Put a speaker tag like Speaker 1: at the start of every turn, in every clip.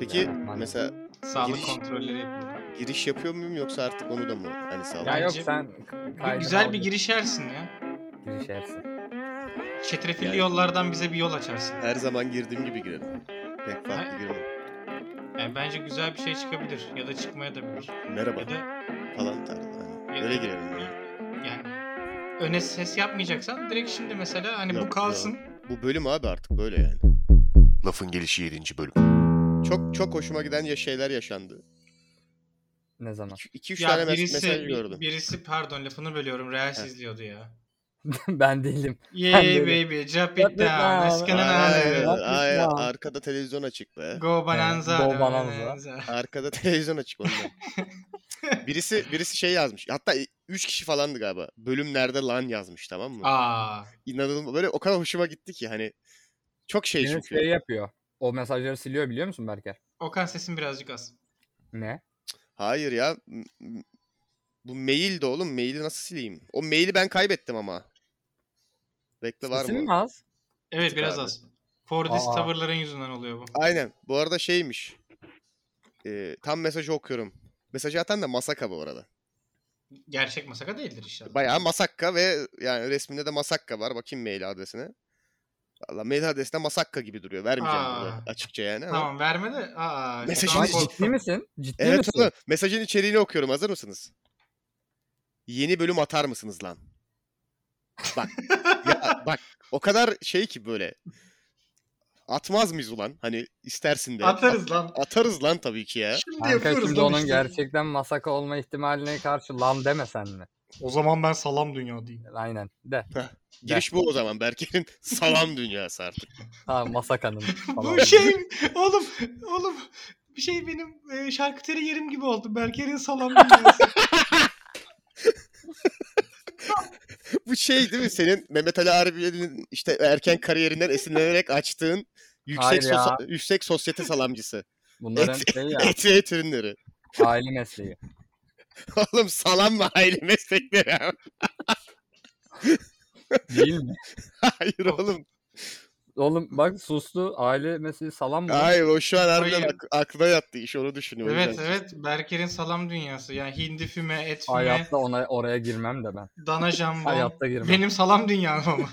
Speaker 1: Peki
Speaker 2: Yani ben-
Speaker 1: mesela
Speaker 3: Sağlık
Speaker 1: Giriş-
Speaker 3: kontrolleri yapılır.
Speaker 1: giriş yapıyor muyum yoksa artık onu da mı hani sağlam?
Speaker 2: Ya yok
Speaker 3: Bence
Speaker 2: sen
Speaker 3: Bir
Speaker 2: kaydını
Speaker 3: güzel
Speaker 2: al,
Speaker 3: bir giriş yersin ya.
Speaker 2: girişersin.
Speaker 3: Çetrefilli
Speaker 1: Yani-
Speaker 3: yollardan bize bir yol açarsın.
Speaker 1: Her zaman girdiğim gibi girelim. Pek farklı
Speaker 3: Ha.
Speaker 1: girmem.
Speaker 3: Yani bence güzel bir şey çıkabilir ya da çıkmaya da bilir.
Speaker 1: Merhaba
Speaker 3: Ya da
Speaker 1: falan tarzı. Hani
Speaker 3: Ya-
Speaker 1: Öyle girelim yani.
Speaker 3: yani öne ses yapmayacaksan direkt şimdi mesela hani
Speaker 1: Yok,
Speaker 3: bu kalsın.
Speaker 1: Bu bölüm abi artık böyle yani.
Speaker 4: Lafın gelişi 7. bölüm.
Speaker 1: Çok çok hoşuma giden ya şeyler yaşandı.
Speaker 2: Ne zaman?
Speaker 1: 2 3
Speaker 3: Ya
Speaker 1: tane mes-
Speaker 3: birisi
Speaker 1: mesaj
Speaker 3: bir-
Speaker 1: gördüm.
Speaker 3: birisi pardon lafını bölüyorum. Real izliyordu ya.
Speaker 2: ben değilim.
Speaker 3: Yay
Speaker 2: böyle-
Speaker 3: baby jump
Speaker 2: Jump
Speaker 3: it
Speaker 2: it
Speaker 3: down.
Speaker 2: down.
Speaker 3: Eskiden
Speaker 1: Aynen,
Speaker 3: abi.
Speaker 2: Bak
Speaker 1: aynen.
Speaker 2: ya.
Speaker 1: Arkada televizyon açık be.
Speaker 3: Go bananza.
Speaker 2: Go
Speaker 3: da,
Speaker 2: Bonanza.
Speaker 1: Arkada televizyon açık ondan. birisi birisi şey yazmış. Hatta 3 kişi falandı galiba. Bölüm nerede lan yazmış tamam mı?
Speaker 3: Aa.
Speaker 1: İnanılmaz böyle o kadar hoşuma gitti ki hani çok şey
Speaker 2: Benim
Speaker 1: çünkü.
Speaker 2: şey yapıyor. O mesajları siliyor biliyor musun Berker?
Speaker 3: Okan sesin birazcık az.
Speaker 2: Ne?
Speaker 1: Hayır ya. m- m- Bu mail de oğlum. Maili nasıl sileyim? O maili ben kaybettim ama. Bekle var
Speaker 2: Sesim
Speaker 1: mı?
Speaker 2: mi az?
Speaker 3: Evet
Speaker 1: Tık
Speaker 3: biraz
Speaker 1: abi.
Speaker 3: az. Fordist
Speaker 2: Aa.
Speaker 3: tavırların yüzünden oluyor bu.
Speaker 1: Aynen. Bu arada şeymiş. Ee, tam mesajı okuyorum. Mesajı atan da Masaka bu arada.
Speaker 3: Gerçek masaka değildir inşallah.
Speaker 1: Bayağı Masakka ve yani resminde de Masakka var. Bakayım mail adresine. Valla mail adresine Masakka gibi duruyor. Vermeyeceğim
Speaker 3: Aa.
Speaker 1: burada açıkça yani ama.
Speaker 3: Tamam verme de. Aa,
Speaker 1: Mesajın
Speaker 3: Okan
Speaker 1: içi-
Speaker 3: korktu.
Speaker 2: Ciddi misin? Ciddi
Speaker 1: Evet
Speaker 2: misin?
Speaker 1: oğlum, mesajın içeriğini okuyorum. Hazır mısınız? Yeni bölüm atar mısınız lan? Bak. ya bak o kadar şey ki böyle. Atmaz mıyız ulan? Hani istersin de.
Speaker 3: Atarız lan.
Speaker 1: At- atarız lan tabii ki ya.
Speaker 3: Şimdi
Speaker 2: Kanka
Speaker 3: yapıyoruz
Speaker 2: şimdi
Speaker 3: lan
Speaker 2: onun
Speaker 3: işte.
Speaker 2: gerçekten masaka olma ihtimaline karşı lan deme sen mi?
Speaker 3: O zaman ben salam dünya diyeyim.
Speaker 2: Aynen de.
Speaker 1: Giriş bu o zaman. Berker'in salam dünyası artık.
Speaker 2: Ha masakanın. falan.
Speaker 3: Bu şey oğlum oğlum bir şey benim e, şarküteri yerim gibi oldu. Berker'in salam dünyası.
Speaker 1: bu şey değil mi? Senin Mehmet Ali Arif'in işte erken kariyerinden esinlenerek açtığın yüksek
Speaker 2: Hayır ya.
Speaker 1: sosa- yüksek sosyete salamcısı.
Speaker 2: Bunların şey ya
Speaker 1: Et ve et ürünleri.
Speaker 2: aile mesleği.
Speaker 1: Oğlum salam mı aile meslekleri abi?
Speaker 2: Değil mi?
Speaker 1: Hayır oğlum.
Speaker 2: Oğlum bak sustu aile mesleği salam mı?
Speaker 1: Hayır o şu an harbiden
Speaker 3: Hayır.
Speaker 1: ak- aklına yattı iş onu düşünüyor. o
Speaker 3: evet
Speaker 1: yüzden.
Speaker 3: evet Berker'in salam dünyası. Yani hindi füme, et füme,
Speaker 2: Hayatta ona oraya girmem de ben.
Speaker 3: dana jambon.
Speaker 2: Hayatta girmem.
Speaker 3: Benim salam dünyam ama.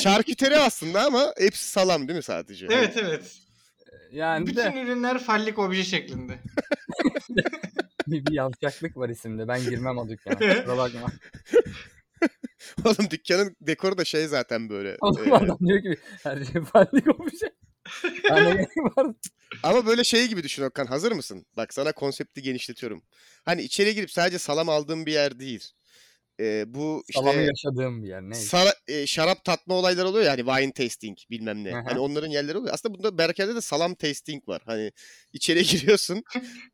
Speaker 1: Şarküteri aslında ama hepsi salam değil mi sadece? Hani
Speaker 3: evet evet.
Speaker 2: Yani de
Speaker 3: Bütün ürünler fallik obje şeklinde.
Speaker 2: bir, bir yavşaklık var isimde. Ben girmem o dükkana. Kusura bakma.
Speaker 1: Hani- Oğlum dükkanın dekoru da şey zaten böyle.
Speaker 2: Oğlum
Speaker 1: e,
Speaker 2: adam diyor ki her şey farklı olmuş. Yani ne var?
Speaker 1: ama böyle şey gibi düşün Okan hazır mısın? Bak sana konsepti genişletiyorum. Hani içeri girip sadece salam aldığın bir yer değil. E, bu
Speaker 2: Salamı
Speaker 1: işte
Speaker 2: yaşadığım bir yer. Ne?
Speaker 1: sara- e, şarap tatma olayları oluyor ya hani wine tasting bilmem ne.
Speaker 2: Aha.
Speaker 1: Hani onların yerleri oluyor. Aslında bunda Berker'de de salam tasting var. Hani içeri giriyorsun.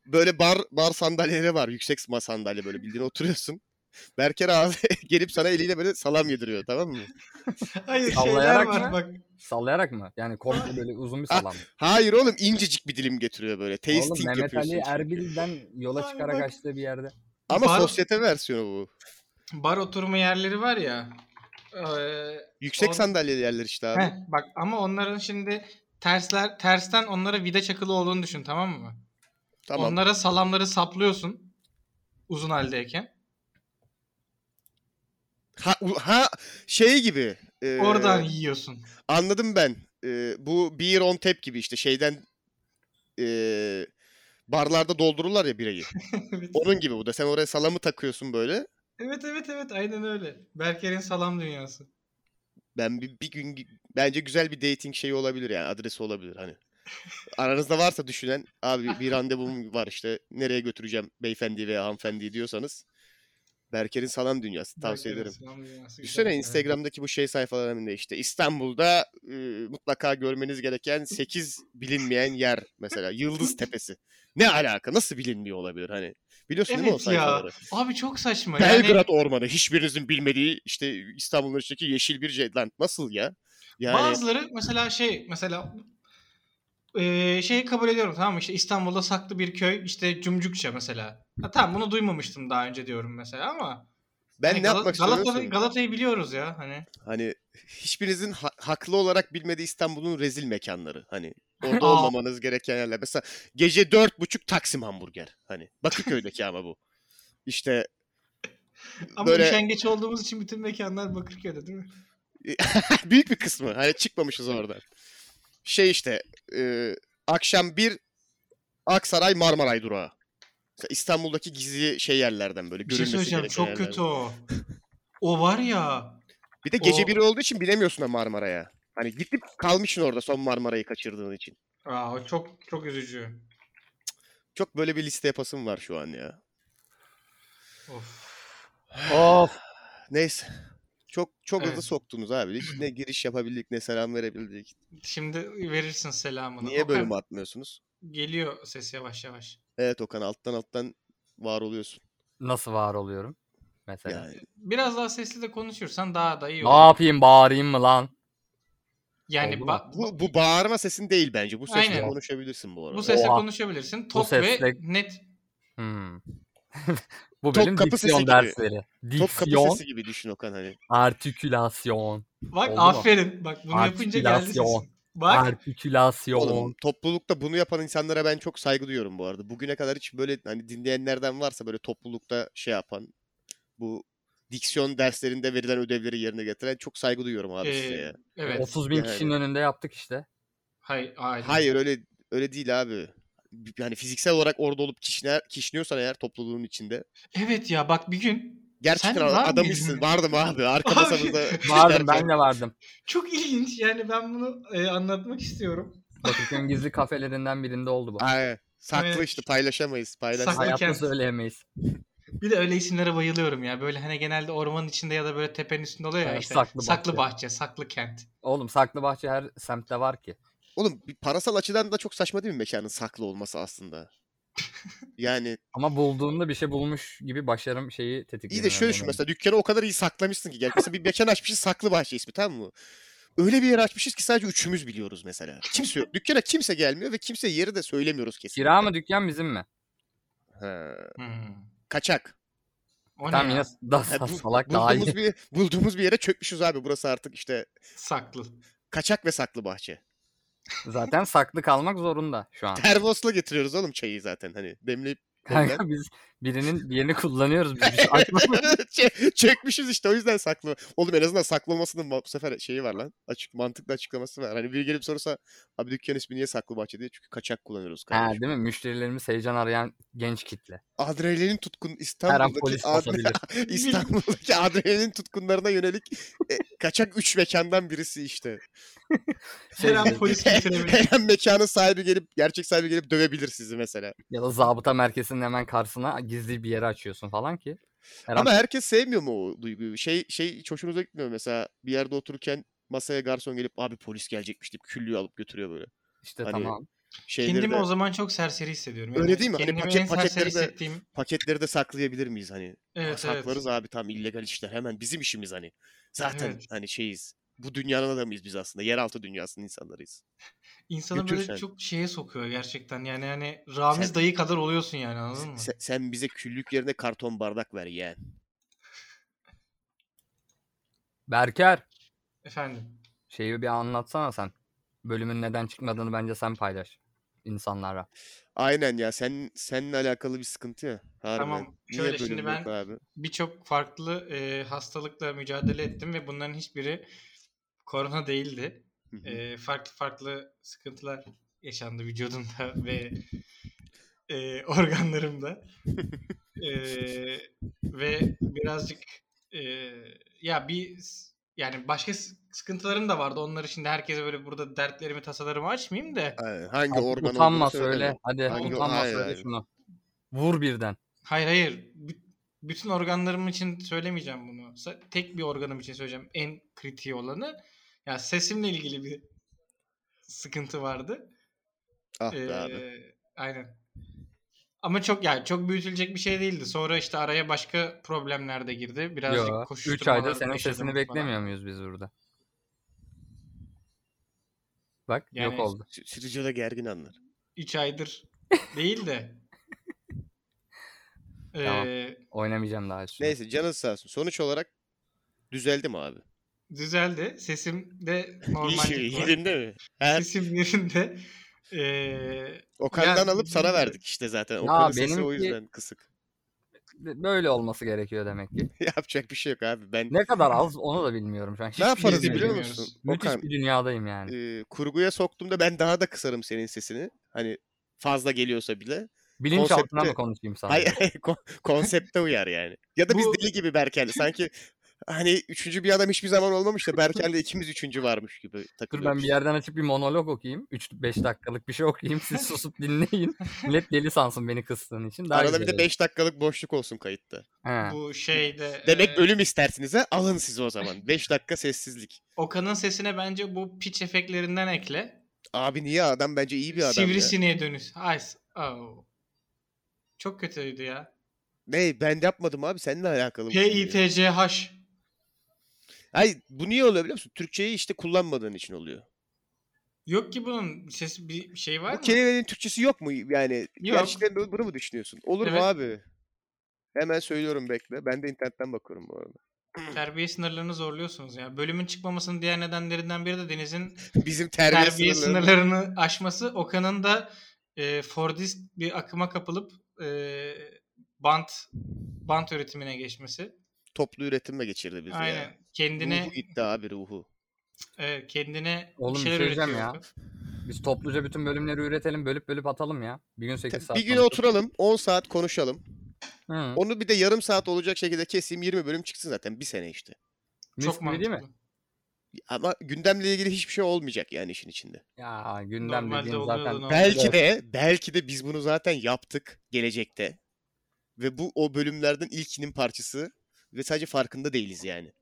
Speaker 1: böyle bar bar sandalyeleri var. Yüksek ma- sandalye böyle bildiğin oturuyorsun. Berker abi gelip sana eliyle böyle salam yediriyor tamam mı?
Speaker 3: Hayır şeyler
Speaker 2: Sallayarak
Speaker 3: var
Speaker 2: mı?
Speaker 3: bak.
Speaker 2: Sallayarak mı? Yani komple böyle uzun bir
Speaker 1: Ah,
Speaker 2: salam.
Speaker 1: Hayır oğlum incecik bir dilim getiriyor böyle. Tasting
Speaker 2: Oğlum Mehmet
Speaker 1: yapıyorsun.
Speaker 2: Ali Er-
Speaker 1: çünkü.
Speaker 2: Erbil'den yola
Speaker 3: Ay
Speaker 2: çıkarak
Speaker 3: bak.
Speaker 2: açtığı bir yerde.
Speaker 1: Ama
Speaker 3: Bar-
Speaker 1: sosyete versiyonu bu.
Speaker 3: Bar oturma yerleri var ya. e, Eee
Speaker 1: Yüksek
Speaker 3: Oğlum-
Speaker 1: sandalyeli yerler işte abi.
Speaker 3: Heh, bak ama onların şimdi tersler tersten onlara vida çakılı olduğunu düşün tamam mı?
Speaker 1: Tamam.
Speaker 3: Onlara salamları saplıyorsun uzun haldeyken.
Speaker 1: Ha, u- ha, şey gibi. e,
Speaker 3: Oradan yiyorsun.
Speaker 1: Anladım ben. Ee, bu beer on tap gibi işte şeyden ee, barlarda doldururlar ya birayı.
Speaker 3: evet.
Speaker 1: Onun gibi bu da. Sen oraya salamı takıyorsun böyle.
Speaker 3: evet evet evet aynen öyle. Berker'in salam dünyası.
Speaker 1: Ben bir, bir gün gi- bence güzel bir dating şeyi olabilir yani adresi olabilir hani. Aranızda varsa düşünen abi bir randevum var işte nereye götüreceğim beyefendi veya hanımefendi diyorsanız Berker'in salam dünyası tavsiye ederim. Düşünsene Instagram'daki bu şey sayfalarında işte İstanbul'da e, mutlaka görmeniz gereken 8 bilinmeyen yer mesela Yıldız Tepesi. Ne alaka? Nasıl bilinmiyor olabilir hani? Biliyorsun değil mi o
Speaker 3: Evet ya.
Speaker 1: sayfaları?
Speaker 3: Abi çok saçma.
Speaker 1: Belgrad
Speaker 3: Yani
Speaker 1: Ormanı hiçbirinizin bilmediği işte İstanbul'un içindeki yeşil bir şey. Lan nasıl ya? Yani
Speaker 3: bazıları mesela şey mesela eee şeyi kabul ediyorum tamam mı? İşte İstanbul'da saklı bir köy işte Cumcukça mesela. Ha, tamam bunu duymamıştım daha önce diyorum mesela ama
Speaker 1: ben
Speaker 3: hani
Speaker 1: ne
Speaker 3: Gal-
Speaker 1: yapmak istiyorum?
Speaker 3: Galata-
Speaker 1: biliyor musun?
Speaker 3: Galata'yı biliyoruz ya hani.
Speaker 1: Hani hiçbirinizin ha- haklı olarak bilmediği İstanbul'un rezil mekanları. Hani orada
Speaker 3: Aa.
Speaker 1: olmamanız gereken yerler. Mesela gece dört buçuk Taksim hamburger. Hani Bakırköy'deki ama bu. İşte
Speaker 3: Ama
Speaker 1: Böyle-
Speaker 3: üşengeç olduğumuz için bütün mekanlar Bakırköy'de değil mi?
Speaker 1: büyük bir kısmı. Hani çıkmamışız oradan. Şey işte e, akşam bir Aksaray Marmaray durağı. Mesela İstanbul'daki gizli şey yerlerden böyle
Speaker 3: Bir şey
Speaker 1: görülmesi
Speaker 3: söyleyeceğim
Speaker 1: gereken
Speaker 3: çok
Speaker 1: yerlerden.
Speaker 3: kötü o. O var ya.
Speaker 1: Bir de gece
Speaker 3: O-
Speaker 1: biri olduğu için bilemiyorsun da Marmara'ya. Hani gidip kalmışsın orada son Marmara'yı kaçırdığın için.
Speaker 3: Aa, o çok çok üzücü.
Speaker 1: Çok böyle bir liste yapasım var şu an ya.
Speaker 3: Of.
Speaker 1: Ah.
Speaker 2: Of.
Speaker 1: Neyse. Çok çok hızlı
Speaker 3: Evet.
Speaker 1: soktunuz abi. Hiç ne giriş yapabildik ne selam verebildik.
Speaker 3: Şimdi verirsin selamını.
Speaker 1: Niye
Speaker 3: Okan,
Speaker 1: bölümü atmıyorsunuz?
Speaker 3: Geliyor ses yavaş yavaş.
Speaker 1: Evet Okan alttan alttan var oluyorsun.
Speaker 2: Nasıl var oluyorum? Mesela.
Speaker 1: Yani
Speaker 3: Biraz daha sesli de konuşursan daha da iyi olur.
Speaker 2: ne yapayım bağırayım mı lan?
Speaker 3: yani
Speaker 2: Oldu mu?
Speaker 3: ba-
Speaker 1: bu, bu bağırma sesin değil bence. Bu sesle
Speaker 3: Aynen.
Speaker 1: konuşabilirsin bu arada.
Speaker 3: bu sesle
Speaker 2: Oha.
Speaker 3: konuşabilirsin. Tok ve
Speaker 2: sesle-
Speaker 3: net.
Speaker 2: Hmm. Bu
Speaker 1: Top
Speaker 2: bölüm
Speaker 1: kapı sesi
Speaker 2: diksiyon
Speaker 1: gibi.
Speaker 2: dersleri.
Speaker 1: Top kapı
Speaker 2: Diksiyon,
Speaker 1: sesi gibi düşün Okan hani.
Speaker 2: artikülasyon,
Speaker 3: Bak
Speaker 2: Oldu mu?
Speaker 3: aferin. Bak bunu yapınca geldi
Speaker 2: Artikülasyon.
Speaker 3: sesin. Bak
Speaker 2: artikülasyon.
Speaker 1: Oğlum toplulukta bunu yapan insanlara ben çok saygı duyuyorum bu arada. Bugüne kadar hiç böyle hani dinleyenlerden varsa böyle toplulukta şey yapan bu diksiyon derslerinde verilen ödevleri yerine getiren çok saygı duyuyorum abi size
Speaker 3: Ee,
Speaker 1: ya.
Speaker 3: evet.
Speaker 2: 30 bin
Speaker 1: yani.
Speaker 2: kişinin önünde yaptık işte.
Speaker 3: Hayır, hayır.
Speaker 1: Hayır öyle öyle değil abi. Yani fiziksel olarak orada olup kişner, kişniyorsan eğer topluluğun içinde.
Speaker 3: Evet ya bak bir gün
Speaker 1: Gerçekten
Speaker 3: var mıydın?
Speaker 1: adammışsın. Vardım abi. Arka
Speaker 3: Abi,
Speaker 1: masamızda.
Speaker 2: Vardım
Speaker 1: işlerken-
Speaker 2: ben de vardım.
Speaker 3: çok ilginç. Yani ben bunu e, anlatmak istiyorum.
Speaker 2: Bakırköy'ün gizli kafelerinden birinde oldu bu.
Speaker 1: Ay, saklı
Speaker 3: Evet.
Speaker 1: işte paylaşamayız. Paylaşamayız.
Speaker 3: Saklı
Speaker 2: Hayatta
Speaker 3: kent.
Speaker 2: söyleyemeyiz.
Speaker 3: Bir de öyle isimlere bayılıyorum ya. Böyle hani genelde ormanın içinde ya da böyle tepenin üstünde oluyor ya
Speaker 2: Evet,
Speaker 3: işte.
Speaker 2: saklı
Speaker 3: saklı
Speaker 2: bahçe.
Speaker 3: bahçe, saklı kent.
Speaker 2: Oğlum saklı bahçe her semtte var ki.
Speaker 1: Oğlum bir parasal açıdan da çok saçma değil mi mekanın saklı olması aslında? Yani
Speaker 2: Ama bulduğumda bir şey bulmuş gibi başarım şeyi
Speaker 1: iyi
Speaker 2: tetikleniyor.
Speaker 1: de şöyle düşün mesela dükkanı o kadar iyi saklamışsın ki. Gel mesela bir mekan açmışız saklı bahçe ismi tamam mı? Öyle bir yer açmışız ki sadece üçümüz biliyoruz mesela. Kimse yok. Dükkana kimse gelmiyor ve kimse yeri de söylemiyoruz kesin.
Speaker 2: Kira mı dükkan bizim mi?
Speaker 1: Ha,
Speaker 3: Hmm.
Speaker 1: Kaçak.
Speaker 3: O ne
Speaker 2: Tamam
Speaker 3: ya?
Speaker 2: yine daha
Speaker 1: Ha, bu-
Speaker 2: salak daha iyi.
Speaker 1: bulduğumuz bir bulduğumuz bir yere çökmüşüz abi. Burası artık işte
Speaker 3: Saklı.
Speaker 1: Şey kaçak ve saklı bahçe.
Speaker 2: Zaten saklı kalmak zorunda şu an.
Speaker 1: Termosla getiriyoruz oğlum çayı zaten hani demleyip
Speaker 2: Kanka biz birinin birini kullanıyoruz. Biz bir şey açmadık.
Speaker 1: Çe- çekmişiz işte o yüzden saklı. Oğlum en azından saklı olmasının ma- bu sefer şeyi var lan. Açık mantıklı açıklaması var. Hani biri gelip sorsa abi dükkan ismi niye saklı bahçe diye çünkü kaçak kullanıyoruz
Speaker 2: ha,
Speaker 1: kardeşim.
Speaker 2: değil mi? Müşterilerimiz heyecan arayan genç kitle.
Speaker 1: Adrenalin tutkun
Speaker 2: Her an
Speaker 1: İstanbul'daki
Speaker 2: polis
Speaker 1: adre-
Speaker 2: basabilir.
Speaker 1: İstanbul'daki adrenalin tutkunlarına yönelik e, kaçak üç mekandan birisi işte.
Speaker 2: Şey
Speaker 3: Her an
Speaker 2: diyoruz,
Speaker 3: polis getirebilir.
Speaker 1: Her an mekanın sahibi gelip gerçek sahibi gelip dövebilir sizi mesela.
Speaker 2: ya da zabıta merkezinin hemen karşısına gizli bir yere açıyorsun falan ki. Her an
Speaker 1: Ama herkes sevmiyor mu o duyguyu? Şey şey hiç hoşunuza gitmiyor mu? mesela bir yerde otururken masaya garson gelip abi polis gelecekmiş deyip küllüğü alıp götürüyor böyle.
Speaker 2: işte
Speaker 1: hani-
Speaker 2: tamam.
Speaker 1: Şeyleri
Speaker 3: Kendimi
Speaker 1: de,
Speaker 3: o zaman çok serseri hissediyorum.
Speaker 1: Öyle değil mi? Hani
Speaker 3: kendimi
Speaker 1: paket-
Speaker 3: en serseri
Speaker 1: paketleri de-
Speaker 3: hissettiğim.
Speaker 1: paketleri de saklayabilir miyiz hani?
Speaker 3: Evet evet.
Speaker 1: Saklarız abi tam illegal işler hemen bizim işimiz hani. Zaten
Speaker 3: Evet.
Speaker 1: hani şeyiz. Bu dünyanın adamıyız biz aslında. Yeraltı dünyasının insanlarıyız.
Speaker 3: İnsanı
Speaker 1: Götür
Speaker 3: böyle
Speaker 1: sen.
Speaker 3: çok şeye sokuyor gerçekten. Yani hani Ramiz
Speaker 1: Sen-
Speaker 3: dayı kadar oluyorsun yani anladın
Speaker 1: Se-
Speaker 3: mı?
Speaker 1: Sen, bize küllük yerine karton bardak ver yeğen.
Speaker 2: Berker
Speaker 3: Efendim.
Speaker 2: şeyi bir anlatsana sen. Bölümün neden çıkmadığını bence sen paylaş insanlara.
Speaker 1: Aynen ya sen seninle alakalı bir sıkıntı ya. Harbiden.
Speaker 3: Tamam,
Speaker 1: Niye
Speaker 3: şöyle şimdi
Speaker 1: bölüm
Speaker 3: ben-
Speaker 1: yok abi?
Speaker 3: Birçok farklı e, hastalıkla mücadele ettim ve bunların hiçbiri korona değildi.
Speaker 1: Hı hı.
Speaker 3: E, farklı farklı sıkıntılar yaşandı vücudumda ve e, organlarımda. E, ve birazcık e, ya bir yani başka s- sıkıntılarım da vardı. Onlar için de herkese böyle burada dertlerimi, tasalarımı açmayayım da.
Speaker 1: Aynen, hangi
Speaker 2: Hadi
Speaker 1: organ
Speaker 2: utanma
Speaker 1: olduğunu söyleme.
Speaker 2: söyle. Hadi
Speaker 1: Hangi-
Speaker 2: utanma
Speaker 1: Hayır,
Speaker 2: söyle
Speaker 1: hayır.
Speaker 2: şunu. Vur birden.
Speaker 3: Hayır hayır. Bü- bütün organlarım için söylemeyeceğim bunu. Sa- Tek bir organım için söyleyeceğim. En kritiği olanı. Ya sesimle ilgili bir sıkıntı vardı.
Speaker 1: Ah be
Speaker 3: Ee,
Speaker 1: abi.
Speaker 3: Aynen. Ama çok yani çok büyütülecek bir şey değildi. Sonra işte araya başka problemler de girdi. Birazcık
Speaker 2: Yo, 3
Speaker 3: koşuşturmalar
Speaker 2: ayda senin
Speaker 3: yaşadım
Speaker 2: sesini
Speaker 3: falan.
Speaker 2: beklemiyor muyuz biz burada? Bak
Speaker 3: Yani-
Speaker 2: yok oldu.
Speaker 1: Stü- Stüdyoda gergin anlar.
Speaker 3: 3 aydır değil de. Ee,
Speaker 2: Tamam. Oynamayacağım daha üstüne.
Speaker 1: Neyse canın sağ olsun. Sonuç olarak düzeldim abi.
Speaker 3: düzeldi. Sesim de
Speaker 1: İyi, şey,
Speaker 3: normal.
Speaker 1: yerinde mi? Her
Speaker 3: Sesim yerinde. Ee,
Speaker 1: Okan'dan
Speaker 3: Ya-
Speaker 1: alıp sana verdik işte zaten.
Speaker 2: Ya
Speaker 1: Okan'ın sesi
Speaker 2: benimki-
Speaker 1: o yüzden kısık.
Speaker 2: Böyle olması gerekiyor demek ki.
Speaker 1: Yapacak bir şey yok abi. Ben
Speaker 2: Ne kadar az onu da bilmiyorum şu an. Hiçbir
Speaker 1: ne
Speaker 2: şey
Speaker 1: yaparız
Speaker 3: bilmiyorum.
Speaker 1: biliyor
Speaker 2: bilmiyorum.
Speaker 1: musun?
Speaker 2: Müthiş
Speaker 1: Okan
Speaker 2: bir dünyadayım yani.
Speaker 1: e, kurguya soktuğumda ben daha da kısarım senin sesini. Hani fazla geliyorsa bile.
Speaker 2: Bilinç altına
Speaker 1: konsepti-
Speaker 2: mı konuşayım sana?
Speaker 1: Hayır, kon- konsepte uyar yani. Ya da biz
Speaker 3: Bu-
Speaker 1: deli gibi Berkel'le sanki hani üçüncü bir adam hiçbir zaman olmamış da Berkel'le ikimiz üçüncü varmış gibi
Speaker 2: Dur ben bir
Speaker 1: takılıyoruz.
Speaker 2: yerden açıp bir monolog okuyayım. 3-5 dakikalık bir şey okuyayım. Siz susup dinleyin. Millet deli sansın beni kıstığın için. Daha
Speaker 1: Arada bir
Speaker 2: güzel
Speaker 1: de 5 dakikalık boşluk olsun kayıtta.
Speaker 2: olur. He.
Speaker 3: bu şeyde
Speaker 1: Demek
Speaker 3: e,
Speaker 1: ölüm istersiniz ha alın sizi o zaman. 5 dakika sessizlik.
Speaker 3: Okan'ın sesine bence bu piç efektlerinden ekle.
Speaker 1: Abi niye adam bence iyi bir adam ya.
Speaker 3: Sivrisineğe dönüş. Ay, s- au. Çok kötüydü ya.
Speaker 1: Ne ben yapmadım abi seninle alakalı. bu şimdi.
Speaker 3: P-I-T-C-H.
Speaker 1: Hayır bu niye oluyor biliyor musun? Türkçeyi işte kullanmadığın için oluyor.
Speaker 3: Yok ki bunun sesi bir şey var
Speaker 1: Bu
Speaker 3: mı?
Speaker 1: kelimelerin Türkçesi yok mu yani? Gerçekten bu- bunu mu düşünüyorsun? Olur
Speaker 3: Evet.
Speaker 1: mu abi? Hemen söylüyorum bekle. Ben de internetten bakıyorum bu arada.
Speaker 3: Terbiye sınırlarını zorluyorsunuz ya. Bölümün çıkmamasının diğer nedenlerinden biri de Deniz'in
Speaker 1: Bizim terbiye,
Speaker 3: terbiye
Speaker 1: sınırları-
Speaker 3: sınırlarını aşması. Okan'ın da e, Fordist bir akıma kapılıp e, bant bant üretimine geçmesi.
Speaker 1: toplu üretimle geçirdi bizi
Speaker 3: Aynen.
Speaker 1: ya.
Speaker 3: Kendine
Speaker 1: Ruhu gitti abi ruhu.
Speaker 3: e, kendine
Speaker 2: Oğlum bir
Speaker 3: bir şeyler
Speaker 2: şey diyeceğim
Speaker 3: üretiyor.
Speaker 2: ya. Biz topluca bütün bölümleri üretelim. Bölüp bölüp atalım ya. Bir gün 8 saat.
Speaker 1: Bir gün
Speaker 2: konuşuruz.
Speaker 1: oturalım 10 saat konuşalım.
Speaker 2: Hı.
Speaker 1: Onu bir de yarım saat olacak şekilde keseyim 20 bölüm çıksın zaten bir sene işte.
Speaker 2: Mis
Speaker 3: Çok
Speaker 2: gibi değil
Speaker 3: mantıklı.
Speaker 2: mi?
Speaker 1: Ama gündemle ilgili hiçbir şey olmayacak yani işin içinde.
Speaker 2: Ya gündem
Speaker 3: Normalde
Speaker 2: dediğin
Speaker 3: oluyordu,
Speaker 2: zaten.
Speaker 3: normalde.
Speaker 1: Belki de belki de biz bunu zaten yaptık gelecekte. Ve bu o bölümlerden ilkinin parçası ve sadece farkında değiliz yani.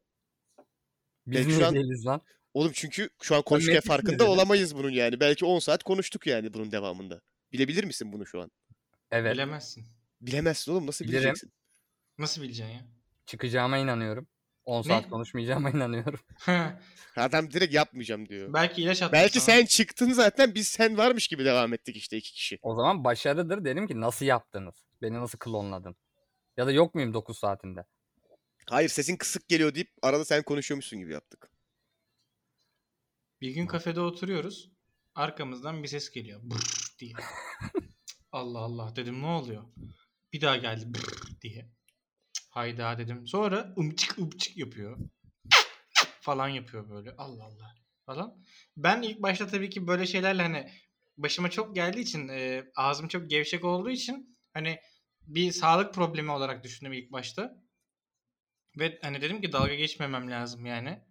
Speaker 2: Biz
Speaker 1: Belki şu
Speaker 2: ne
Speaker 1: an-
Speaker 2: değiliz lan?
Speaker 1: Oğlum çünkü şu an konuşurken
Speaker 2: metin
Speaker 1: farkında
Speaker 2: izledin.
Speaker 1: olamayız bunun yani. Belki 10 saat konuştuk yani bunun devamında. Bilebilir misin bunu şu an?
Speaker 2: Evet.
Speaker 3: Bilemezsin.
Speaker 1: Bilemezsin oğlum nasıl
Speaker 2: Bilirim.
Speaker 1: bileceksin?
Speaker 3: Nasıl bileceksin ya?
Speaker 2: Çıkacağıma inanıyorum. 10 saat
Speaker 3: Ne?
Speaker 2: konuşmayacağıma inanıyorum.
Speaker 1: Adam direkt yapmayacağım diyor.
Speaker 3: Belki ilaç attı.
Speaker 1: Belki
Speaker 3: sana.
Speaker 1: sen çıktın zaten biz sen varmış gibi devam ettik işte iki kişi.
Speaker 2: O zaman başarıdır dedim ki nasıl yaptınız? Beni nasıl klonladın? Ya da yok muyum 9 saatinde?
Speaker 1: Hayır sesin kısık geliyor deyip arada sen konuşuyormuşsun gibi yaptık.
Speaker 3: Bir gün kafede oturuyoruz. Arkamızdan bir ses geliyor. Brrr diye. Allah Allah dedim ne oluyor? Bir daha geldi brrr diye. Cık, Hayda dedim. Sonra ımçık ımçık yapıyor. falan yapıyor böyle. Allah Allah falan. Ben ilk başta tabii ki böyle şeylerle hani başıma çok geldiği için e, ağzım çok gevşek olduğu için hani bir sağlık problemi olarak düşündüm ilk başta. Ve hani dedim ki dalga geçmemem lazım yani.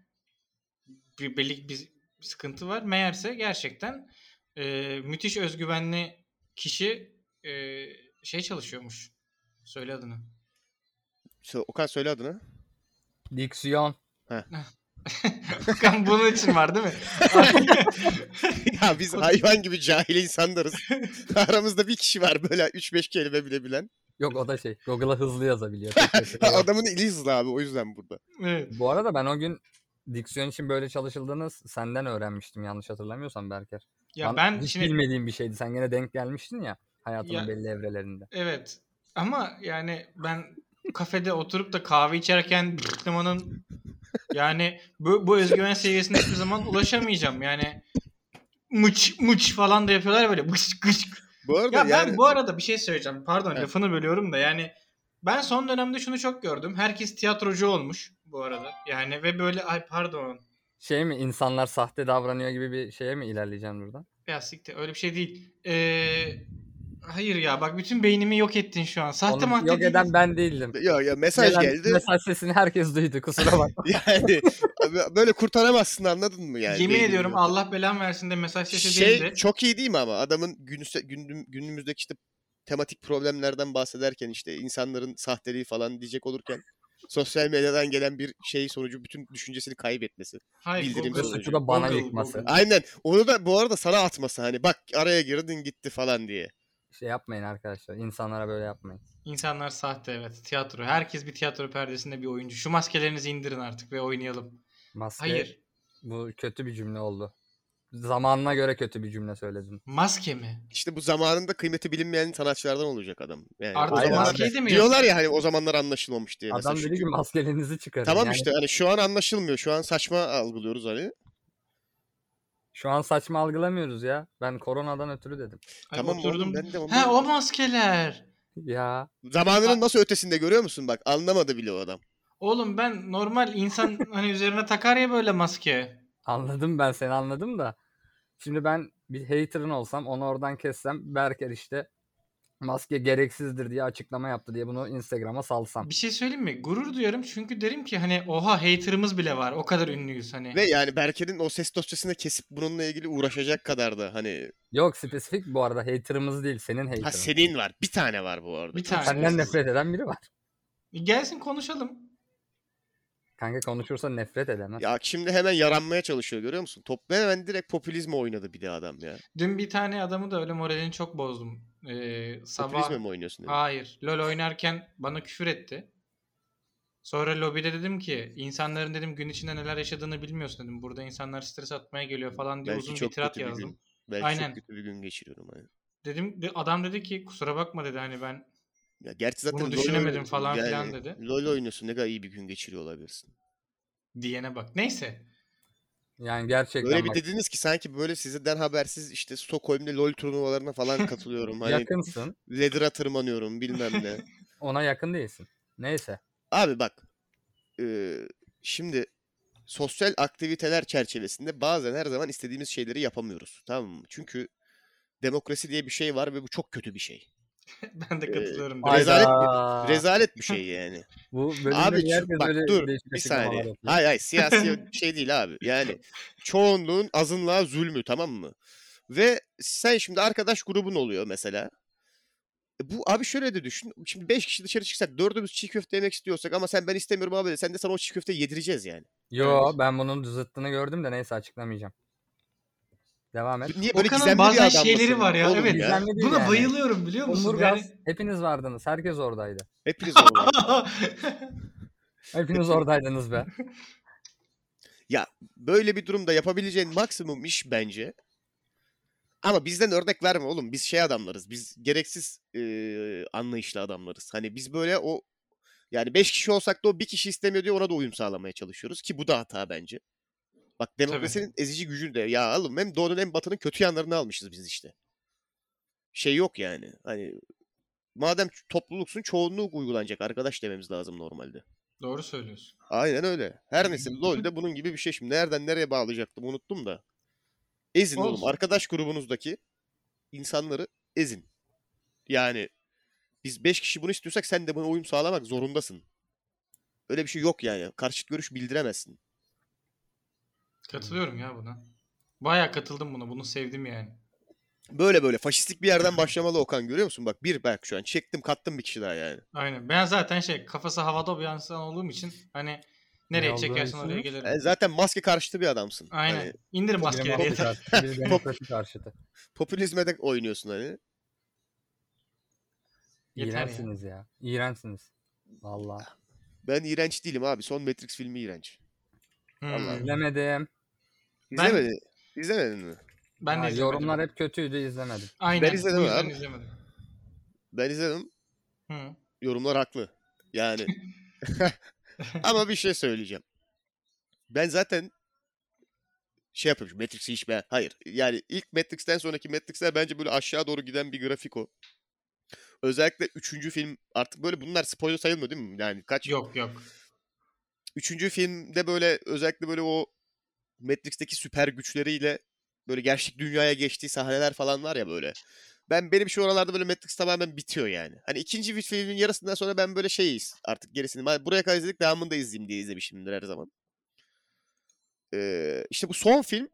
Speaker 3: Bir, belli bir sıkıntı var. Meğerse gerçekten e, müthiş özgüvenli kişi e, şey çalışıyormuş. Söyle adını.
Speaker 1: Sö- Okan söyle adını.
Speaker 2: Diksiyon.
Speaker 3: Hakan bunun için var değil mi?
Speaker 1: ya biz
Speaker 3: Okan-
Speaker 1: hayvan gibi cahil insanlarız. Aramızda bir kişi var böyle 3-5 kelime bile bilen.
Speaker 2: Yok o da şey. Google'a hızlı yazabiliyor. tek başına.
Speaker 1: Ha, Adamın ili hızlı abi o yüzden burada.
Speaker 3: evet.
Speaker 2: Bu arada ben o gün diksiyon için böyle çalışıldığını s- senden öğrenmiştim yanlış hatırlamıyorsam Berker.
Speaker 3: Ya
Speaker 2: Bana
Speaker 3: ben
Speaker 2: hiç
Speaker 3: şimdi
Speaker 2: bilmediğim bir şeydi. Sen gene denk gelmiştin ya hayatının
Speaker 3: Ya-
Speaker 2: belli evrelerinde.
Speaker 3: evet ama yani ben kafede oturup da kahve içerken Müslüman'ın yani bu, bu özgüven seviyesine hiçbir zaman ulaşamayacağım. Yani mıç mıç falan da yapıyorlar böyle gıç gıç
Speaker 1: Bu arada
Speaker 3: Ya ben
Speaker 1: yani
Speaker 3: bu arada bir şey söyleyeceğim. Pardon
Speaker 1: Evet.
Speaker 3: lafını bölüyorum da yani ben son dönemde şunu çok gördüm. Herkes tiyatrocu olmuş bu arada. Yani ve böyle ay pardon.
Speaker 2: Şey mi insanlar sahte davranıyor gibi bir şeye mi ilerleyeceğim buradan?
Speaker 3: Ya siktir öyle bir şey değil. Ee, Hayır ya bak bütün beynimi yok ettin şu an. Sahte
Speaker 2: Onu
Speaker 3: madde
Speaker 2: yok
Speaker 3: değil.
Speaker 2: eden ben değildim.
Speaker 1: Ya ya mesaj
Speaker 2: Gelen
Speaker 1: geldi.
Speaker 2: Mesaj sesini herkes duydu kusura bakma.
Speaker 1: yani böyle kurtaramazsın anladın mı yani?
Speaker 3: Yemin
Speaker 1: Beynini
Speaker 3: ediyorum
Speaker 1: yok.
Speaker 3: Allah belan versin de mesaj sesi
Speaker 1: şey
Speaker 3: değil de.
Speaker 1: çok iyi değil mi ama adamın günüse- gündüm- günümüzdeki işte tematik problemlerden bahsederken işte insanların sahteliği falan diyecek olurken sosyal medyadan gelen bir şey sonucu bütün düşüncesini kaybetmesi.
Speaker 3: Hayır,
Speaker 1: bildirim
Speaker 3: Google.
Speaker 1: sonucu.
Speaker 2: Bu da bana
Speaker 3: Google,
Speaker 2: yıkması.
Speaker 3: Google.
Speaker 1: Aynen. Onu da bu arada sana atması hani bak araya girdin gitti falan diye.
Speaker 2: Şey yapmayın arkadaşlar. insanlara böyle yapmayın.
Speaker 3: İnsanlar sahte evet. Tiyatro. Herkes bir tiyatro perdesinde bir oyuncu. Şu maskelerinizi indirin artık ve oynayalım.
Speaker 2: Maske,
Speaker 1: Şey
Speaker 3: Hayır.
Speaker 2: Bu kötü bir cümle oldu. Zamanına göre kötü bir cümle söyledim.
Speaker 3: Maske mi?
Speaker 1: İşte bu zamanında kıymeti bilinmeyen sanatçılardan olacak adam. Yani
Speaker 3: Artık
Speaker 1: o
Speaker 2: Aynen.
Speaker 1: zamanlar-
Speaker 3: maskeyi de mi
Speaker 1: diyorlar ya hani o zamanlar anlaşılmamış diye. mesela
Speaker 2: Adam
Speaker 1: şu-
Speaker 2: dedi ki maskelerinizi çıkarın.
Speaker 1: Tamam
Speaker 2: Yani
Speaker 1: işte hani şu an anlaşılmıyor. Şu an saçma algılıyoruz hani.
Speaker 2: Şu an saçma algılamıyoruz ya. Ben koronadan ötürü dedim.
Speaker 3: Ay,
Speaker 1: tamam
Speaker 3: oturdum.
Speaker 1: oğlum ben de onu...
Speaker 3: Ha o maskeler.
Speaker 2: Ya
Speaker 1: Zamanının nasıl ötesinde görüyor musun bak anlamadı bile o adam.
Speaker 3: Oğlum ben normal insan hani üzerine takar ya böyle maske.
Speaker 2: anladım ben seni anladım da. Şimdi ben bir hater'ın olsam onu oradan kessem Berker işte maske gereksizdir diye açıklama yaptı diye bunu Instagram'a salsam.
Speaker 3: Bir şey söyleyeyim mi? Gurur duyarım çünkü derim ki hani oha haterımız bile var. O kadar ünlüyüz hani.
Speaker 1: Ve yani Berke'nin o ses dosyasını kesip bununla ilgili uğraşacak kadar da hani
Speaker 2: Yok spesifik bu arada hater'ımız değil senin hater'ın.
Speaker 1: ha senin var. Bir tane var bu arada.
Speaker 3: Bir tane.
Speaker 2: Senden nefret eden biri var.
Speaker 3: Gelsin konuşalım.
Speaker 2: Kanka konuşursa nefret edemez.
Speaker 1: Ya şimdi hemen yaranmaya çalışıyor görüyor musun? Toplu hemen direkt popülizme oynadı bir de adam ya.
Speaker 3: Dün bir tane adamı da öyle moralini çok bozdum. Ee, sabah
Speaker 1: Popülizme mi oynuyorsun? dedim.
Speaker 3: Hayır. LoL oynarken bana küfür etti. Sonra lobide dedim ki insanların dedim gün içinde neler yaşadığını bilmiyorsun dedim. Burada insanlar stres atmaya geliyor falan diye uzun bir tirat
Speaker 1: kötü bir
Speaker 3: yazdım.
Speaker 1: gün. Belki
Speaker 3: Aynen.
Speaker 1: çok kötü bir gün geçiriyorum. Hani.
Speaker 3: Dedim de- adam dedi ki kusura bakma dedi hani ben
Speaker 1: Ya gerçi zaten
Speaker 3: Bunu
Speaker 1: LoL
Speaker 3: düşünemedim
Speaker 1: oynuyorsun,
Speaker 3: falan filan dedi.
Speaker 1: LoL oynuyorsun ne kadar iyi bir gün geçiriyor olabilirsin.
Speaker 3: diyene bak. Neyse.
Speaker 2: Yani gerçekten
Speaker 1: Öyle bir
Speaker 2: bak,
Speaker 1: dediniz ki sanki böyle sizden habersiz işte Stockholm'da LoL turnuvalarına falan katılıyorum. hani
Speaker 2: yakınsın.
Speaker 1: ladder'a tırmanıyorum bilmem ne.
Speaker 2: Ona yakın değilsin. Neyse.
Speaker 1: Abi bak. eee, şimdi sosyal aktiviteler çerçevesinde bazen her zaman istediğimiz şeyleri yapamıyoruz. Tamam mı? Çünkü demokrasi diye bir şey var ve bu çok kötü bir şey.
Speaker 3: ben de
Speaker 1: Ee,
Speaker 3: katılıyorum.
Speaker 1: ay-
Speaker 3: dedi.
Speaker 1: Rezalet
Speaker 2: Hayda.
Speaker 1: Rezalet bir şey yani.
Speaker 2: Bu bölümde
Speaker 1: abi
Speaker 2: niye
Speaker 1: şu-
Speaker 2: herkes
Speaker 1: bak
Speaker 2: böyle
Speaker 1: dur
Speaker 2: değişik
Speaker 1: bir
Speaker 2: açıklamalar
Speaker 1: saniye.
Speaker 2: yapıyor?
Speaker 1: Hayır hayır siyasi bir şey değil abi. Yani çoğunluğun azınlığa zulmü tamam mı? Ve sen şimdi arkadaş grubun oluyor mesela. E Bu abi şöyle de düşün. Şimdi 5 kişi dışarı çıksak dördümüz çiğ köfte yemek istiyorsak ama sen ben istemiyorum abi de sen de sana o çiğ köfteyi yedireceğiz yani.
Speaker 2: Yo ben bunun zıttını gördüm de neyse açıklamayacağım. Devam et.
Speaker 1: Niye böyle
Speaker 3: Okan'ın
Speaker 1: gizemli bir
Speaker 3: bazen
Speaker 1: adam
Speaker 3: şeyleri
Speaker 1: mısın
Speaker 3: var ya.
Speaker 1: oğlum
Speaker 3: Evet.
Speaker 1: ya?
Speaker 2: Gizemli değil
Speaker 3: Buna
Speaker 2: yani.
Speaker 3: bayılıyorum biliyor musun?
Speaker 2: Omurgaz
Speaker 3: Yani-
Speaker 2: hepiniz vardınız. Herkes oradaydı.
Speaker 1: Hepiniz oğlum.
Speaker 2: Hepiniz oradaydınız be.
Speaker 1: Böyle bir durumda yapabileceğin maksimum iş bence. Ama bizden örnek verme oğlum. Biz şey adamlarız. Biz gereksiz eee, anlayışlı adamlarız. Hani biz böyle o yani 5 kişi olsak da o bir kişi istemiyor diye ona da uyum sağlamaya çalışıyoruz ki bu da hata bence. Bak demokrasinin ezici gücünü de ya oğlum hem doğunun hem batının kötü yanlarını almışız biz işte. Şey yok yani. Hani madem topluluksun çoğunluk uygulanacak arkadaş dememiz lazım normalde.
Speaker 3: Doğru söylüyorsun.
Speaker 1: Aynen öyle. Her neyse LoL'de bunun gibi bir şey. Şimdi nereden nereye bağlayacaktım unuttum da. Ezin oğlum.
Speaker 3: Olsun.
Speaker 1: Arkadaş grubunuzdaki insanları ezin. Yani biz 5 kişi bunu istiyorsak sen de buna uyum sağlamak zorundasın. Öyle bir şey yok yani. Karşıt görüş bildiremezsin.
Speaker 3: Katılıyorum ya buna. Baya katıldım buna. Bunu sevdim yani.
Speaker 1: Böyle böyle faşistlik bir yerden başlamalı Okan görüyor musun? Bak bir bak şu an çektim kattım bir kişi daha yani.
Speaker 3: Aynen. Ben zaten şey kafası havada bir insan olduğum için hani nereye
Speaker 2: olduğunu
Speaker 3: çekersen oraya
Speaker 2: bilsiniz.
Speaker 3: gelirim.
Speaker 1: E, zaten maske karşıtı bir adamsın.
Speaker 3: Aynen.
Speaker 1: Hani
Speaker 3: İndir
Speaker 2: Bir
Speaker 3: maskeleri
Speaker 2: demokrasi
Speaker 3: yeter.
Speaker 2: karşıtı, bir demokrasi karşıtı.
Speaker 1: popülizme de oynuyorsun hani.
Speaker 3: Yeter ya.
Speaker 2: İğrençsiniz ya. İğrençsiniz. Vallahi.
Speaker 1: Ben iğrenç değilim abi. Son Matrix filmi iğrenç.
Speaker 3: Hmm.
Speaker 1: Vallahi.
Speaker 2: İzlemedim.
Speaker 3: Ben-
Speaker 1: İzlemedi. İzlemedin mi?
Speaker 3: Ben de
Speaker 2: Ha,
Speaker 3: izlemedim.
Speaker 2: yorumlar hep kötüydü izlemedim.
Speaker 3: Aynen.
Speaker 1: Ben izledim
Speaker 3: bu yüzden
Speaker 1: abi.
Speaker 3: izlemedim. Hmm.
Speaker 1: Ben izledim.
Speaker 3: Hı.
Speaker 1: Yorumlar haklı. Yani. Ama bir şey söyleyeceğim. Ben zaten şey yapıyorum. Matrix'i hiç ben... Hayır. Yani ilk Matrix'ten sonraki Matrix'ler bence böyle aşağı doğru giden bir grafik o. Özellikle üçüncü film artık böyle bunlar spoiler sayılmıyor değil mi? Yani kaç?
Speaker 3: Yok yok.
Speaker 1: Üçüncü filmde böyle özellikle böyle o Matrix'teki süper güçleriyle böyle gerçek dünyaya geçtiği sahneler falan var ya böyle. Ben benim şu oralarda böyle Matrix tamamen bitiyor yani. Hani ikinci bir filmin yarısından sonra ben böyle şeyiz artık gerisini. ma- Buraya kadar izledik devamını da izleyeyim diye izlemişimdir her zaman. Ee, işte bu son film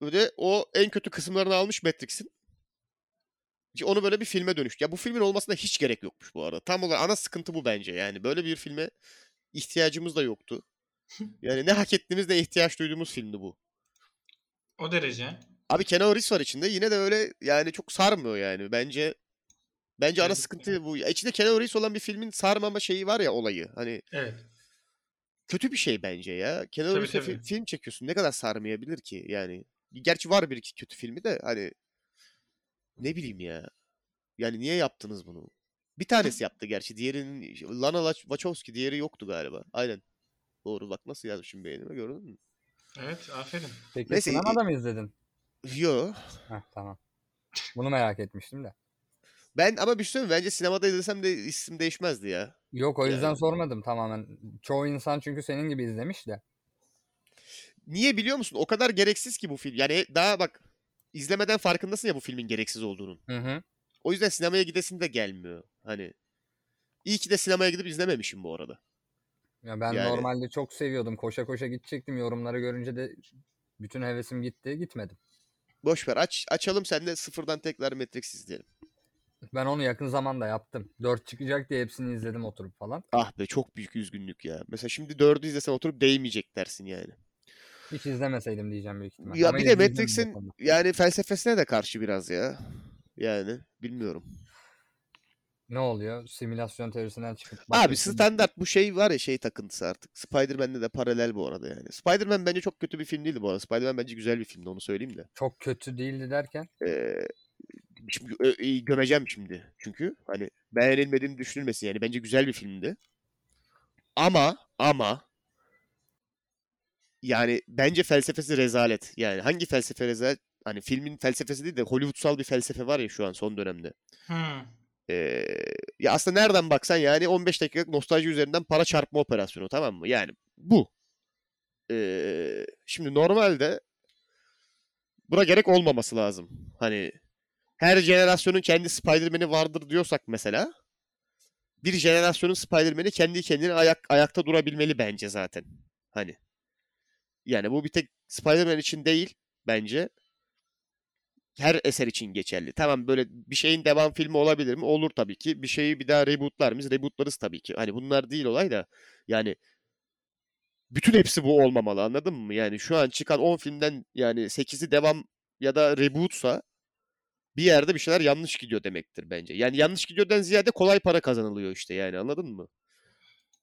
Speaker 1: böyle o en kötü kısımlarını almış Matrix'in. Ki Onu böyle bir filme dönüştü. Ya bu filmin olmasına hiç gerek yokmuş bu arada. Tam olarak ana sıkıntı bu bence. Yani böyle bir filme ihtiyacımız da yoktu. Yani ne hak ettiğimiz ne ihtiyaç duyduğumuz filmdi bu.
Speaker 3: O derece.
Speaker 1: Abi Keanu Reeves var içinde. Yine de öyle yani çok sarmıyor yani. Bence bence ana
Speaker 3: Evet.
Speaker 1: sıkıntı bu. Ya İçinde Keanu Reeves olan bir filmin sarmama şeyi var ya olayı. Hani
Speaker 3: Evet.
Speaker 1: kötü bir şey bence ya. Keanu
Speaker 3: Tabii,
Speaker 1: Reeves'le fi-
Speaker 3: tabii.
Speaker 1: film çekiyorsun. Ne kadar sarmayabilir ki yani. Gerçi var bir iki kötü filmi de hani ne bileyim ya. Yani niye yaptınız bunu? Bir tanesi yaptı gerçi. Diğerinin Lana Lach- Wachowski diğeri yoktu galiba. Aynen. Doğru bak nasıl yazmışım beğenime gördün mü?
Speaker 3: Evet aferin.
Speaker 2: Peki
Speaker 1: Neyse,
Speaker 2: sinemada mı izledin?
Speaker 1: Yo.
Speaker 2: Heh, tamam. Bunu merak etmiştim de.
Speaker 1: Ben ama bir şey söyleyeyim mi? Bence sinemada izlesem de isim değişmezdi ya.
Speaker 2: Yok o yüzden
Speaker 1: Yani-
Speaker 2: sormadım tamamen. Çoğu insan çünkü senin gibi izlemiş de.
Speaker 1: Niye biliyor musun? O kadar gereksiz ki bu film. Yani daha bak izlemeden farkındasın ya bu filmin gereksiz olduğunun.
Speaker 2: Hı hı.
Speaker 1: O yüzden sinemaya gidesin de gelmiyor. Hani iyi ki de sinemaya gidip izlememişim bu arada.
Speaker 2: Ya ben
Speaker 1: Yani-
Speaker 2: normalde çok seviyordum. Koşa koşa gidecektim. Yorumları görünce de bütün hevesim gitti. Gitmedim.
Speaker 1: Boş ver aç açalım sen de sıfırdan tekrar Matrix izleyelim.
Speaker 2: Ben onu yakın zamanda yaptım. 4 çıkacak diye hepsini izledim oturup falan.
Speaker 1: Ah be çok büyük üzgünlük ya. Mesela şimdi dördü izlesen oturup değmeyecek dersin yani.
Speaker 2: Hiç izlemeseydim diyeceğim büyük ihtimal.
Speaker 1: Ya
Speaker 2: Ama
Speaker 1: bir de
Speaker 2: izleyeceğim yine
Speaker 1: Matrix'in
Speaker 2: sonra.
Speaker 1: yani felsefesine de karşı biraz ya. Yani bilmiyorum.
Speaker 2: ne oluyor? Simülasyon teorisinden çıkıp
Speaker 1: Abi
Speaker 2: bakıyorsun.
Speaker 1: standart bu şey var ya şey takıntısı artık. Spider-Man'le de paralel bu arada yani. Spider-Man bence çok kötü bir film değildi bu arada. Spider-Man bence güzel bir filmdi onu söyleyeyim de.
Speaker 2: çok kötü değildi derken
Speaker 1: Ee, şimdi ö- ö- gömeceğim şimdi. Çünkü hani beğenilmediğim düşünülmesin yani. Bence güzel bir filmdi. Ama ama yani bence felsefesi rezalet. Yani hangi felsefe rezalet? Hani filmin felsefesi değil de Hollywoodsal bir felsefe var ya şu an son dönemde.
Speaker 3: Hmm.
Speaker 1: Ee, ya aslında nereden baksan yani 15 dakikalık nostalji üzerinden para çarpma operasyonu tamam mı? Yani bu. Ee, şimdi normalde buna gerek olmaması lazım. Hani her jenerasyonun kendi Spider-Man'i vardır diyorsak mesela bir jenerasyonun Spider-Man'i kendi kendine ayak, ayakta durabilmeli bence zaten. Hani yani bu bir tek Spider-Man için değil bence her eser için geçerli. Tamam böyle bir şeyin devam filmi olabilir mi? Olur tabii ki. Bir şeyi bir daha rebootlar mıyız? Rebootlarız tabii ki. Hani bunlar değil olay da yani bütün hepsi bu olmamalı anladın mı? Yani şu an çıkan 10 filmden yani 8'i devam ya da rebootsa bir yerde bir şeyler yanlış gidiyor demektir bence. Yani yanlış gidiyordan ziyade kolay para kazanılıyor işte yani anladın mı?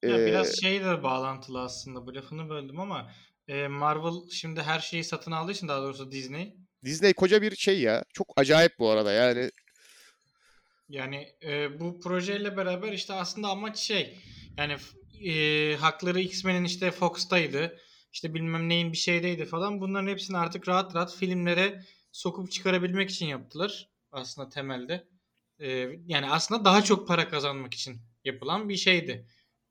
Speaker 3: Ya
Speaker 1: Ee,
Speaker 3: biraz şeyle bağlantılı aslında bu lafını böldüm ama e, Marvel şimdi her şeyi satın aldığı için daha doğrusu Disney
Speaker 1: Disney koca bir şey ya. Çok acayip bu arada yani.
Speaker 3: yani e, bu projeyle beraber işte aslında amaç şey yani f- e, hakları X-Men'in işte Fox'taydı işte bilmem neyin bir şeydeydi falan bunların hepsini artık rahat rahat filmlere sokup çıkarabilmek için yaptılar aslında temelde. E, yani aslında daha çok para kazanmak için yapılan bir şeydi.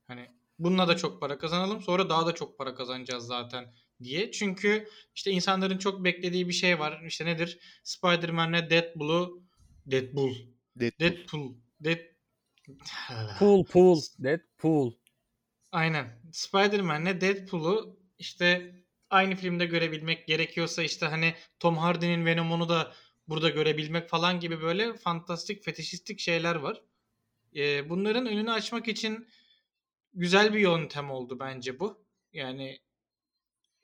Speaker 3: Hani bununla da çok para kazanalım sonra daha da çok para kazanacağız zaten diye. Çünkü işte insanların çok beklediği bir şey var. İşte nedir? Spider-Man'le Deadpool'u Deadpool.
Speaker 1: Deadpool.
Speaker 3: Deadpool. Dead...
Speaker 2: pool pool Deadpool.
Speaker 3: Aynen. Spider-Man'le Deadpool'u işte aynı filmde görebilmek gerekiyorsa işte hani Tom Hardy'nin Venom'unu da burada görebilmek falan gibi böyle fantastik fetişistik şeyler var. Ee, bunların önünü açmak için güzel bir yöntem oldu bence bu. Yani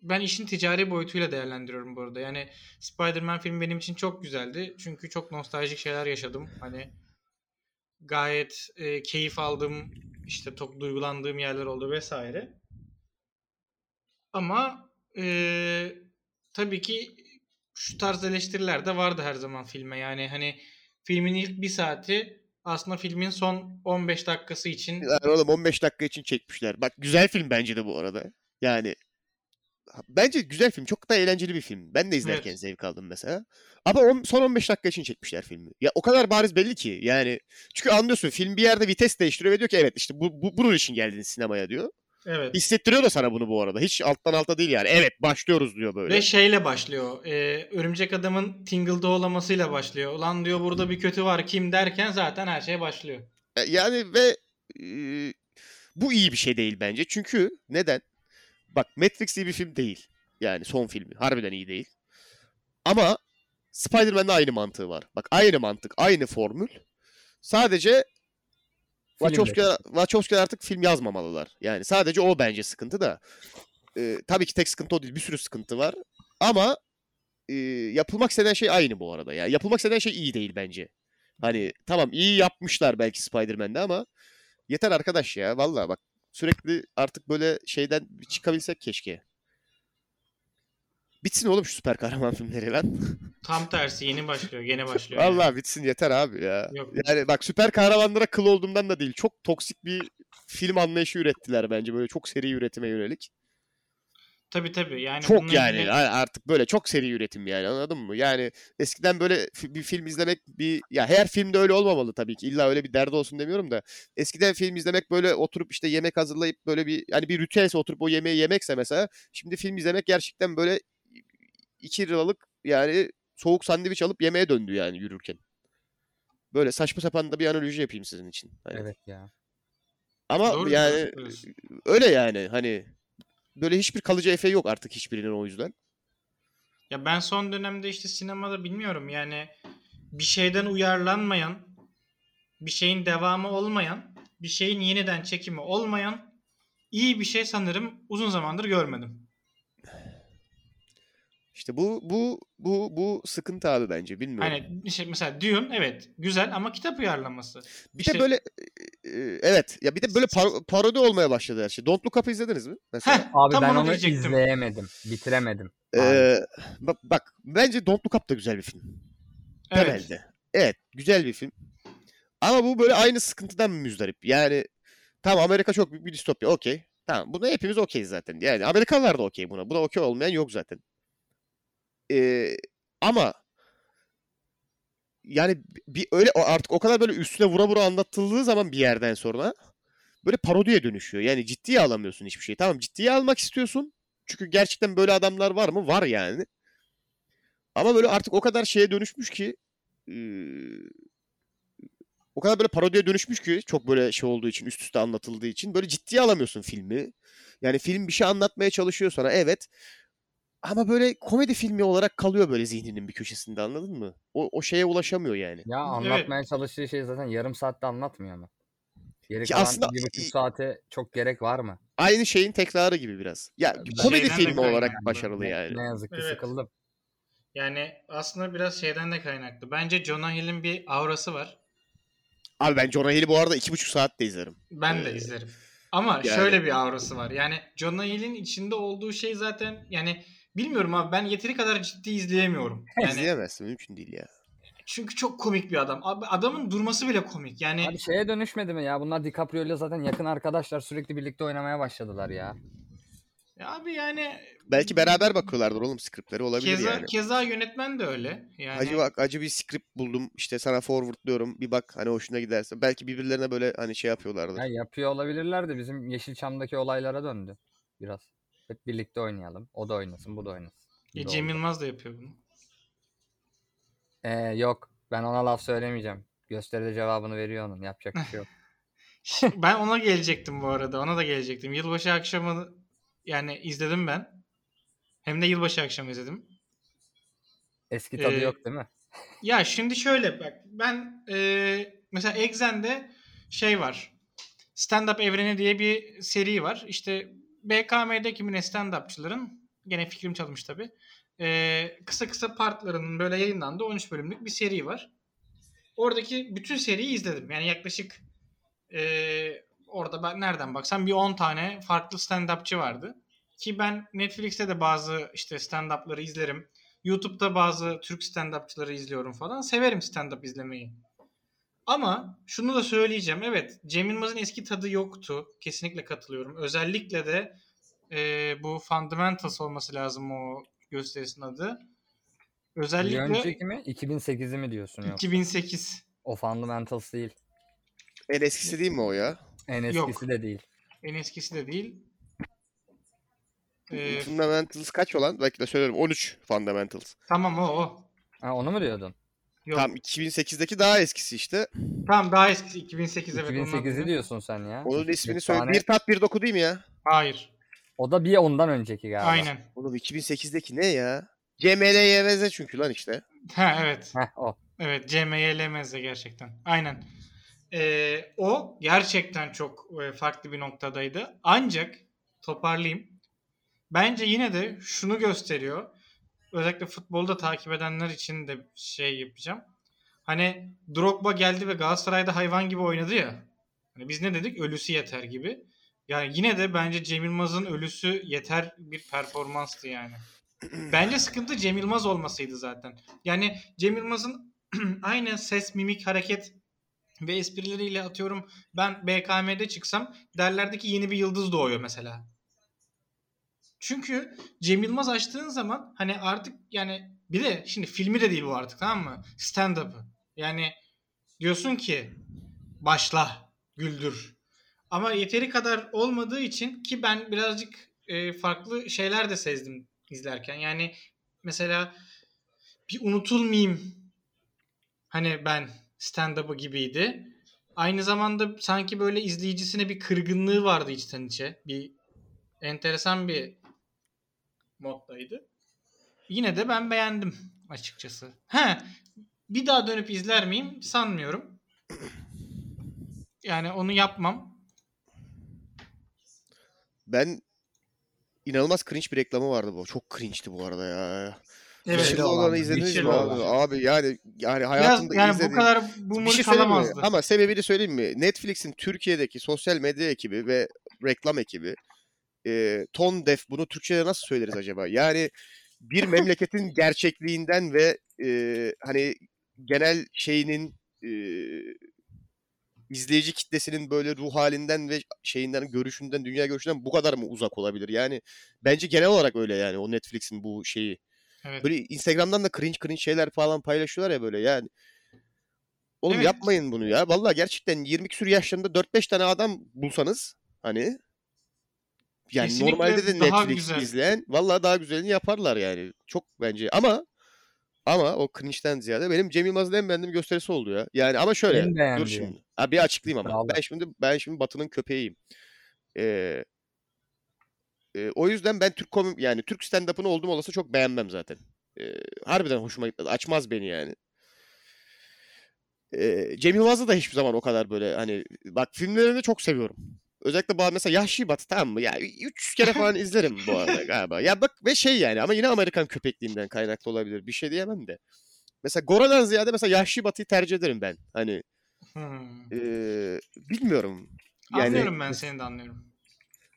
Speaker 3: ben işin ticari boyutuyla değerlendiriyorum burada. Yani Spider-Man filmi benim için çok güzeldi. Çünkü çok nostaljik şeyler yaşadım. Hani gayet e, keyif aldığım işte çok duygulandığım yerler oldu vesaire. Ama e, tabii ki şu tarz eleştiriler de vardı her zaman filme. Yani hani filmin ilk bir saati aslında filmin son 15 dakikası için
Speaker 1: Lan oğlum 15 dakika için çekmişler. Bak güzel film bence de bu arada. Yani bence güzel film. Çok da eğlenceli bir film. Ben de izlerken
Speaker 3: Evet.
Speaker 1: zevk aldım mesela. Ama on- son 15 dakika için çekmişler filmi. Ya o kadar bariz belli ki. Yani çünkü anlıyorsun film bir yerde vites değiştiriyor ve diyor ki evet işte bu, bu bunun için geldiniz sinemaya diyor.
Speaker 3: Evet.
Speaker 1: Hissettiriyor da sana bunu bu arada. Hiç alttan alta değil yani. Evet başlıyoruz diyor böyle.
Speaker 3: Ve şeyle başlıyor. Ee, örümcek adamın Tingle'da olamasıyla başlıyor. Ulan diyor burada bir kötü var kim derken zaten her şey başlıyor.
Speaker 1: E, Yani ve e, bu iyi bir şey değil bence. Çünkü neden? Bak Matrix iyi bir film değil. Yani son filmi. Harbiden iyi değil. Ama Spider-Man'de aynı mantığı var. Bak aynı mantık, aynı formül. Sadece Wachowski'ler, Wachowski'ler artık film yazmamalılar. Yani sadece o bence sıkıntı da. E, tabii ki tek sıkıntı o değil. Bir sürü sıkıntı var. Ama e, yapılmak istenen şey aynı bu arada. Yani yapılmak istenen şey iyi değil bence. Hani tamam iyi yapmışlar belki Spider-Man'de ama yeter arkadaş ya. Valla bak sürekli artık böyle şeyden bir çıkabilsek keşke. Bitsin oğlum şu süper kahraman filmleri lan.
Speaker 3: Tam tersi yeni başlıyor. Gene başlıyor. yani.
Speaker 1: Valla bitsin yeter abi ya.
Speaker 3: Yok.
Speaker 1: Yani bak süper kahramanlara kıl olduğumdan da değil. Çok toksik bir film anlayışı ürettiler bence. Böyle çok seri üretime yönelik.
Speaker 3: Tabii tabii. Yani bununla
Speaker 1: Çok yani
Speaker 3: ilgili-
Speaker 1: a- artık böyle çok seri üretim yani anladın mı? Yani eskiden böyle fi- bir film izlemek bir ya her filmde öyle olmamalı tabii ki. İlla öyle bir derdi olsun demiyorum da. Eskiden film izlemek böyle oturup işte yemek hazırlayıp böyle bir hani bir ritüelse oturup o yemeği yemekse mesela şimdi film izlemek gerçekten böyle iki liralık yani soğuk sandviç alıp yemeğe döndü yani yürürken. Böyle saçma sapan da bir analoji yapayım sizin için. Hani.
Speaker 2: Evet ya.
Speaker 1: Ama
Speaker 3: Doğru
Speaker 1: yani
Speaker 3: söylüyorsun.
Speaker 1: öyle yani hani böyle hiçbir kalıcı efe yok artık hiçbirinin o yüzden.
Speaker 3: Ya ben son dönemde işte sinemada bilmiyorum yani bir şeyden uyarlanmayan, bir şeyin devamı olmayan, bir şeyin yeniden çekimi olmayan iyi bir şey sanırım uzun zamandır görmedim.
Speaker 1: İşte bu bu bu bu sıkıntı abi bence bilmiyorum.
Speaker 3: Hani şey, mesela Dune evet güzel ama kitap uyarlaması.
Speaker 1: bir
Speaker 3: işte-
Speaker 1: de böyle e, e, evet ya bir de böyle par- parodi olmaya başladı her şey. Don't Look Up'ı izlediniz mi mesela?
Speaker 3: Heh,
Speaker 2: Abi
Speaker 3: tam
Speaker 2: ben
Speaker 3: onu
Speaker 2: onu
Speaker 3: diyecektim.
Speaker 2: izleyemedim. Bitiremedim.
Speaker 1: Ee, bak, bak bence Don't Look Up da güzel bir film.
Speaker 3: evet.
Speaker 1: Temelde. Evet, güzel bir film. Ama bu böyle aynı sıkıntıdan müzdarip. Yani tamam Amerika çok büyük bir distopya. Okey. Tamam. Buna hepimiz okeyiz zaten. Yani Amerikalılar da okey buna. Buna okey olmayan yok zaten. Ee, ama yani bir öyle o- artık o kadar böyle üstüne vura vura anlatıldığı zaman bir yerden sonra böyle parodiye dönüşüyor. Yani ciddiye alamıyorsun hiçbir şeyi. Tamam ciddiye almak istiyorsun. Çünkü gerçekten böyle adamlar var mı? Var yani. Ama böyle artık o kadar şeye dönüşmüş ki eee, o kadar böyle parodiye dönüşmüş ki çok böyle şey olduğu için üst üste anlatıldığı için böyle ciddiye alamıyorsun filmi. Yani film bir şey anlatmaya çalışıyor sana evet. Ama böyle komedi filmi olarak kalıyor böyle zihninin bir köşesinde anladın mı? O, o şeye ulaşamıyor yani.
Speaker 2: Ya anlatmaya çalıştığı şey zaten yarım saatte anlatmıyor mu? Geri
Speaker 1: Ki
Speaker 2: kalan
Speaker 1: aslında-
Speaker 2: bir buçuk saate çok gerek var mı?
Speaker 1: Aynı şeyin tekrarı gibi biraz. Ya
Speaker 2: Bir
Speaker 1: komedi
Speaker 3: şeyden de
Speaker 1: filmi olarak
Speaker 3: kaynaklı.
Speaker 1: başarılı
Speaker 2: Ne,
Speaker 1: yani.
Speaker 2: ne yazık ki
Speaker 3: Evet.
Speaker 2: sıkıldım.
Speaker 3: Yani aslında biraz şeyden de kaynaklı. Bence Jonah Hill'in bir aurası var.
Speaker 1: Abi ben Jonah Hill'i bu arada iki buçuk saatte izlerim.
Speaker 3: Ben de
Speaker 1: Ee,
Speaker 3: izlerim. Ama
Speaker 1: yani-
Speaker 3: şöyle bir aurası var. Yani Jonah Hill'in içinde olduğu şey zaten yani bilmiyorum abi ben yeteri kadar ciddi izleyemiyorum. Yani
Speaker 1: İzleyemezsin mümkün değil ya.
Speaker 3: çünkü çok komik bir adam. Abi adamın durması bile komik. Yani
Speaker 2: Abi şeye dönüşmedi mi ya? Bunlar DiCaprio ile zaten yakın arkadaşlar sürekli birlikte oynamaya başladılar ya.
Speaker 1: Hmm,
Speaker 3: Ya abi yani
Speaker 1: Belki beraber bakıyorlardır oğlum skriptleri olabilir
Speaker 3: keza,
Speaker 1: yani.
Speaker 3: keza yönetmen de öyle. Yani
Speaker 1: Acı bak acı bir script buldum işte sana forwardlıyorum bir bak hani hoşuna giderse. Belki birbirlerine böyle hani şey yapıyorlardı.
Speaker 2: Ya yapıyor olabilirler de bizim Yeşilçam'daki olaylara döndü biraz. Hep birlikte oynayalım. O da oynasın, bu da oynasın.
Speaker 3: E,
Speaker 2: gibi
Speaker 3: Cem
Speaker 2: oldu.
Speaker 3: Yılmaz da yapıyor bunu.
Speaker 2: Ee, yok, ben ona laf söylemeyeceğim. Gösteride cevabını veriyor onun. Yapacak bir şey yok.
Speaker 3: Ş- ben ona gelecektim bu arada. Ona da gelecektim. Yılbaşı akşamı yani izledim ben. Hem de yılbaşı akşamı izledim.
Speaker 2: Eski tadı
Speaker 3: Ee,
Speaker 2: yok değil mi?
Speaker 3: Ya şimdi şöyle bak ben e, mesela Exxen'de şey var. Stand Up Evreni diye bir seri var. İşte BKM'deki mine stand upçıların gene fikrim çalmış tabi. kısa kısa partlarının böyle yayınlandığı 13 bölümlük bir seri var. Oradaki bütün seriyi izledim. Yani yaklaşık e, orada ben nereden baksam bir 10 tane farklı stand upçı vardı. Ki ben Netflix'te de bazı işte stand up'ları izlerim. YouTube'da bazı Türk stand-upçıları izliyorum falan. Severim stand-up izlemeyi. Ama şunu da söyleyeceğim. Evet Cem Yılmaz'ın eski tadı yoktu. Kesinlikle katılıyorum. Özellikle de e, bu Fundamentals olması lazım o gösterisinin adı.
Speaker 2: Bir
Speaker 3: Özellikle
Speaker 2: önceki mi? 2008'i mi diyorsun yok?
Speaker 3: 2008
Speaker 2: O Fundamentals değil.
Speaker 1: En eskisi değil mi o ya?
Speaker 2: En eskisi
Speaker 3: Yok.
Speaker 2: de değil.
Speaker 3: en eskisi de değil. Ee,
Speaker 1: Fundamentals kaç olan? Belki de söylüyorum 13 Fundamentals.
Speaker 3: tamam o o.
Speaker 2: Ha, onu mu diyordun?
Speaker 3: Yok.
Speaker 1: Tam 2008'deki daha eskisi işte.
Speaker 3: Tamam daha eskisi 2008 evet. ondan
Speaker 2: 2008'i
Speaker 3: sonra.
Speaker 2: diyorsun sen ya.
Speaker 1: Onun ismini
Speaker 2: Bir
Speaker 1: söyle.
Speaker 2: tane-
Speaker 1: Bir tat bir doku değil mi ya?
Speaker 3: Hayır.
Speaker 2: O da bir ondan önceki galiba.
Speaker 3: Aynen.
Speaker 1: Oğlum 2008'deki ne ya? CMLYVZ çünkü lan işte.
Speaker 3: Ha evet.
Speaker 2: Heh, o.
Speaker 3: Evet CMYLMZ gerçekten. Aynen. Ee, o gerçekten çok e, farklı bir noktadaydı. Ancak toparlayayım. Bence yine de şunu gösteriyor. Özellikle futbolda takip edenler için de şey yapacağım. Hani Drogba geldi ve Galatasaray'da hayvan gibi oynadı ya. Hani biz ne dedik? Ölüsü yeter gibi. Yani yine de bence Cem Yılmaz'ın ölüsü yeter bir performanstı yani. Bence sıkıntı Cem Yılmaz olmasıydı zaten. Yani Cem Yılmaz'ın aynı ses, mimik, hareket ve esprileriyle atıyorum ben BKM'de çıksam derlerdi ki yeni bir yıldız doğuyor mesela. Çünkü Cem Yılmaz açtığın zaman hani artık yani bir de şimdi filmi de değil bu artık tamam mı? Stand-up'ı. Yani diyorsun ki başla, güldür. Ama yeteri kadar olmadığı için ki ben birazcık e, farklı şeyler de sezdim izlerken. Yani mesela bir unutulmayayım hani ben stand-up'ı gibiydi. Aynı zamanda sanki böyle izleyicisine bir kırgınlığı vardı içten içe. Bir enteresan bir moddaydı. Yine de ben beğendim açıkçası. He, bir daha dönüp izler miyim? Sanmıyorum. Yani onu yapmam.
Speaker 1: Ben inanılmaz cringe bir reklamı vardı bu. Çok cringe'ti bu arada ya.
Speaker 3: Evet.
Speaker 1: Evet,
Speaker 2: Yeşil
Speaker 1: olanı
Speaker 2: olan,
Speaker 1: izlediniz
Speaker 3: yeşil
Speaker 1: mi
Speaker 3: olan.
Speaker 1: abi? Abi yani yani
Speaker 3: Biraz
Speaker 1: hayatımda
Speaker 3: yani bu
Speaker 1: izlediğim
Speaker 3: kadar
Speaker 1: bir
Speaker 3: boomer
Speaker 1: şey söyleyeyim mi?
Speaker 3: kalamazdı.
Speaker 1: Ama sebebini söyleyeyim mi? Netflix'in Türkiye'deki sosyal medya ekibi ve reklam ekibi e, ton def bunu Türkçe'de nasıl söyleriz acaba? Yani bir memleketin gerçekliğinden ve e, hani genel şeyinin e, izleyici kitlesinin böyle ruh halinden ve şeyinden görüşünden dünya görüşünden bu kadar mı uzak olabilir? Yani bence genel olarak öyle yani o Netflix'in bu şeyi.
Speaker 3: Evet.
Speaker 1: Böyle Instagram'dan da cringe cringe şeyler falan paylaşıyorlar ya böyle yani. Oğlum
Speaker 3: Evet.
Speaker 1: yapmayın bunu ya. Vallahi gerçekten 20 küsur yaşlarında 4-5 tane adam bulsanız hani yani
Speaker 3: Kesinlikle
Speaker 1: normalde de
Speaker 3: daha
Speaker 1: Netflix
Speaker 3: güzel.
Speaker 1: izleyen vallahi daha güzelini yaparlar yani. Çok bence ama ama o cringe'den ziyade benim Cem Yılmaz'ın en beğendiğim gösterisi oldu ya. Yani ama şöyle
Speaker 2: En
Speaker 1: dur
Speaker 2: beğendiğim.
Speaker 1: şimdi. Ha, bir açıklayayım ama.
Speaker 2: Vallahi.
Speaker 1: Ben şimdi ben şimdi Batı'nın köpeğiyim. Ee, e, o yüzden ben Türk komik yani Türk stand-up'ını oldum olası çok beğenmem zaten. Ee, harbiden hoşuma gitmedi. Açmaz beni yani. Ee, Cem Yılmaz'ı da hiçbir zaman o kadar böyle hani bak filmlerini çok seviyorum. Özellikle bazı mesela Yahşi Batı tamam mı? Ya 3 kere falan izlerim bu arada galiba. Ya bak ve şey yani ama yine Amerikan köpekliğinden kaynaklı olabilir. Bir şey diyemem de. Mesela Gora'dan ziyade mesela Yahşi Batı'yı tercih ederim ben. Hani
Speaker 3: Hmm.
Speaker 1: eee, bilmiyorum. Yani
Speaker 3: Anlıyorum ben seni de anlıyorum.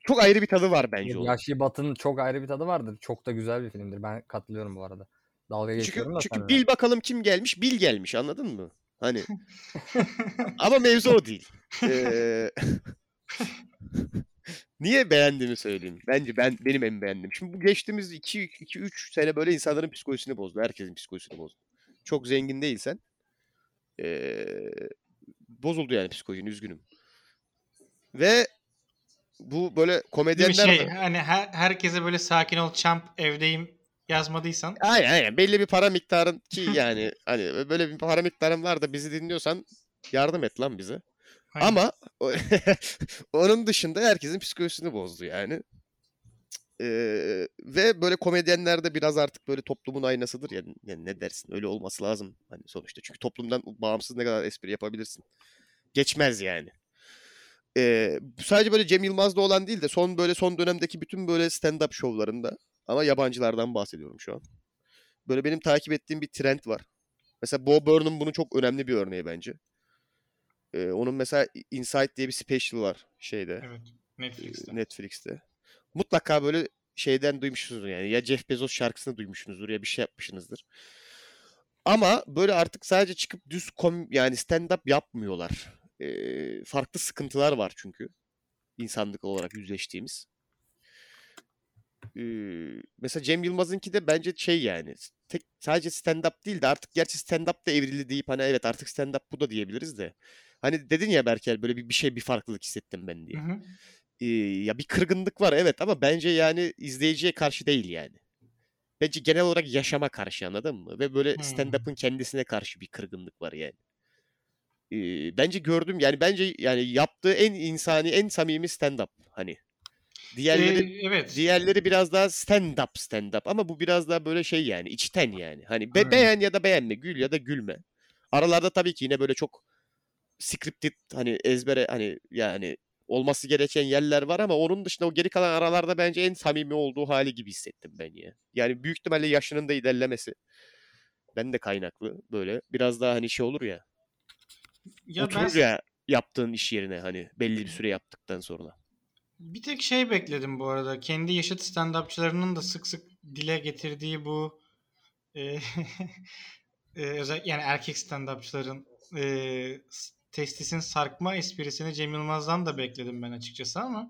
Speaker 1: çok ayrı bir tadı var bence onun.
Speaker 2: Yaşlı Batı'nın çok ayrı bir tadı vardır. Çok da güzel bir filmdir. Ben katılıyorum bu arada. Dalga
Speaker 1: Çünkü,
Speaker 2: geçiyorum da
Speaker 1: çünkü
Speaker 2: seninle.
Speaker 1: bil bakalım kim gelmiş, bil gelmiş anladın mı? Hani ama mevzu o değil. Eee, Niye beğendiğimi söyleyeyim. Bence ben benim en beğendiğim. Şimdi bu geçtiğimiz 2-3 sene böyle insanların psikolojisini bozdu. Herkesin psikolojisini bozdu. Çok zengin değilsen eee, bozuldu yani psikolojin üzgünüm. Ve bu böyle
Speaker 3: Değil mi
Speaker 1: komedyenler
Speaker 3: şey hani her, herkese böyle sakin ol champ evdeyim yazmadıysan
Speaker 1: Aynen aynen. Belli bir para miktarın ki yani hani böyle bir para miktarın var da bizi dinliyorsan yardım et lan bize.
Speaker 3: Aynen.
Speaker 1: Ama o- onun dışında herkesin psikolojisini bozdu yani. Ee, ve böyle komedyenler de biraz artık böyle toplumun aynasıdır ya. Yani ne dersin? Öyle olması lazım hani sonuçta. Çünkü toplumdan bağımsız ne kadar espri yapabilirsin. Geçmez yani. Ee, sadece böyle Cem Yılmaz'da olan değil de son böyle son dönemdeki bütün böyle stand-up şovlarında ama yabancılardan bahsediyorum şu an. Böyle benim takip ettiğim bir trend var. Mesela Bo Burnham bunun çok önemli bir örneği bence. Ee, onun mesela Insight diye bir special var şeyde
Speaker 3: evet Netflix'te.
Speaker 1: e, Netflix'te. Mutlaka böyle şeyden duymuşsunuzdur yani. Ya Jeff Bezos şarkısını duymuşsunuzdur ya bir şey yapmışsınızdır. Ama böyle artık sadece çıkıp düz kom yani stand-up yapmıyorlar. Ee, farklı sıkıntılar var çünkü. insanlık olarak yüzleştiğimiz. Ee, mesela Cem Yılmaz'ınki de bence şey yani tek sadece stand-up değil de artık gerçi stand-up da evrildi deyip hani evet artık stand-up bu da diyebiliriz de. Hani dedin ya Berker böyle bir, bir şey bir farklılık hissettim ben diye.
Speaker 3: Hı hı.
Speaker 1: e, ya bir kırgınlık var evet ama bence yani izleyiciye karşı değil yani. Bence genel olarak yaşama karşı anladın mı? Ve böyle
Speaker 3: Hmm.
Speaker 1: stand-up'ın kendisine karşı bir kırgınlık var yani. E, bence gördüm yani bence yani yaptığı en insani en samimi stand-up hani. Diğerleri
Speaker 3: Ee, evet.
Speaker 1: Diğerleri biraz daha stand up stand up ama bu biraz daha böyle şey yani içten yani. Hani be-
Speaker 2: Aynen.
Speaker 1: beğen ya da beğenme, gül ya da gülme. Aralarda tabii ki yine böyle çok scripted hani ezbere hani yani olması gereken yerler var ama onun dışında o geri kalan aralarda bence en samimi olduğu hali gibi hissettim ben ya. Yani büyük ihtimalle yaşının da ilerlemesi. Ben de kaynaklı böyle biraz daha hani şey olur ya.
Speaker 3: Ya ben
Speaker 1: oturur ya yaptığın iş yerine hani belli bir süre yaptıktan sonra.
Speaker 3: bir tek şey bekledim bu arada. Kendi yaşıt stand-upçılarının da sık sık dile getirdiği bu e, e, özellikle yani erkek stand-upçıların e, s- testisin sarkma esprisini Cem Yılmaz'dan da bekledim ben açıkçası ama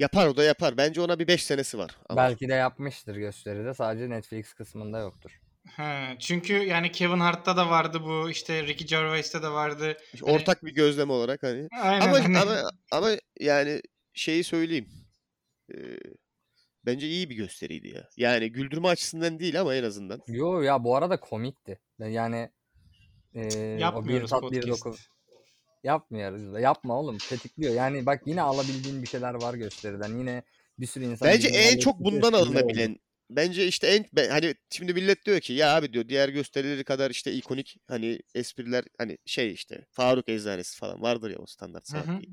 Speaker 1: Yapar o da yapar. Bence ona bir 5 senesi var. ama.
Speaker 2: Belki de yapmıştır gösteride. Sadece Netflix kısmında yoktur.
Speaker 3: He, çünkü yani Kevin Hart'ta da vardı bu işte Ricky Gervais'te de vardı. Hani-
Speaker 1: Ortak bir gözlem olarak hani.
Speaker 3: Aynen.
Speaker 1: Ama
Speaker 3: hani-
Speaker 1: ama ama yani şeyi söyleyeyim. Ee, bence iyi bir gösteriydi ya. Yani güldürme açısından değil ama en azından.
Speaker 2: Yo ya bu arada komikti. Yani e, o bir
Speaker 3: yapmıyoruz
Speaker 2: tat bir
Speaker 3: podcast.
Speaker 2: doku. Yapmıyoruz. da. Yapma oğlum. Tetikliyor. Yani bak yine alabildiğin bir şeyler var gösteriden. Yine bir sürü insan.
Speaker 1: Bence
Speaker 2: birbirinden
Speaker 1: en çok
Speaker 2: etkili
Speaker 1: bundan
Speaker 2: etkili oldu.
Speaker 1: alınabilen Bence işte en ben- hani şimdi millet diyor ki ya abi diyor diğer gösterileri kadar işte ikonik hani espriler hani şey işte Faruk Eczanesi falan vardır ya o standart
Speaker 3: Hı hı.
Speaker 1: saat diye.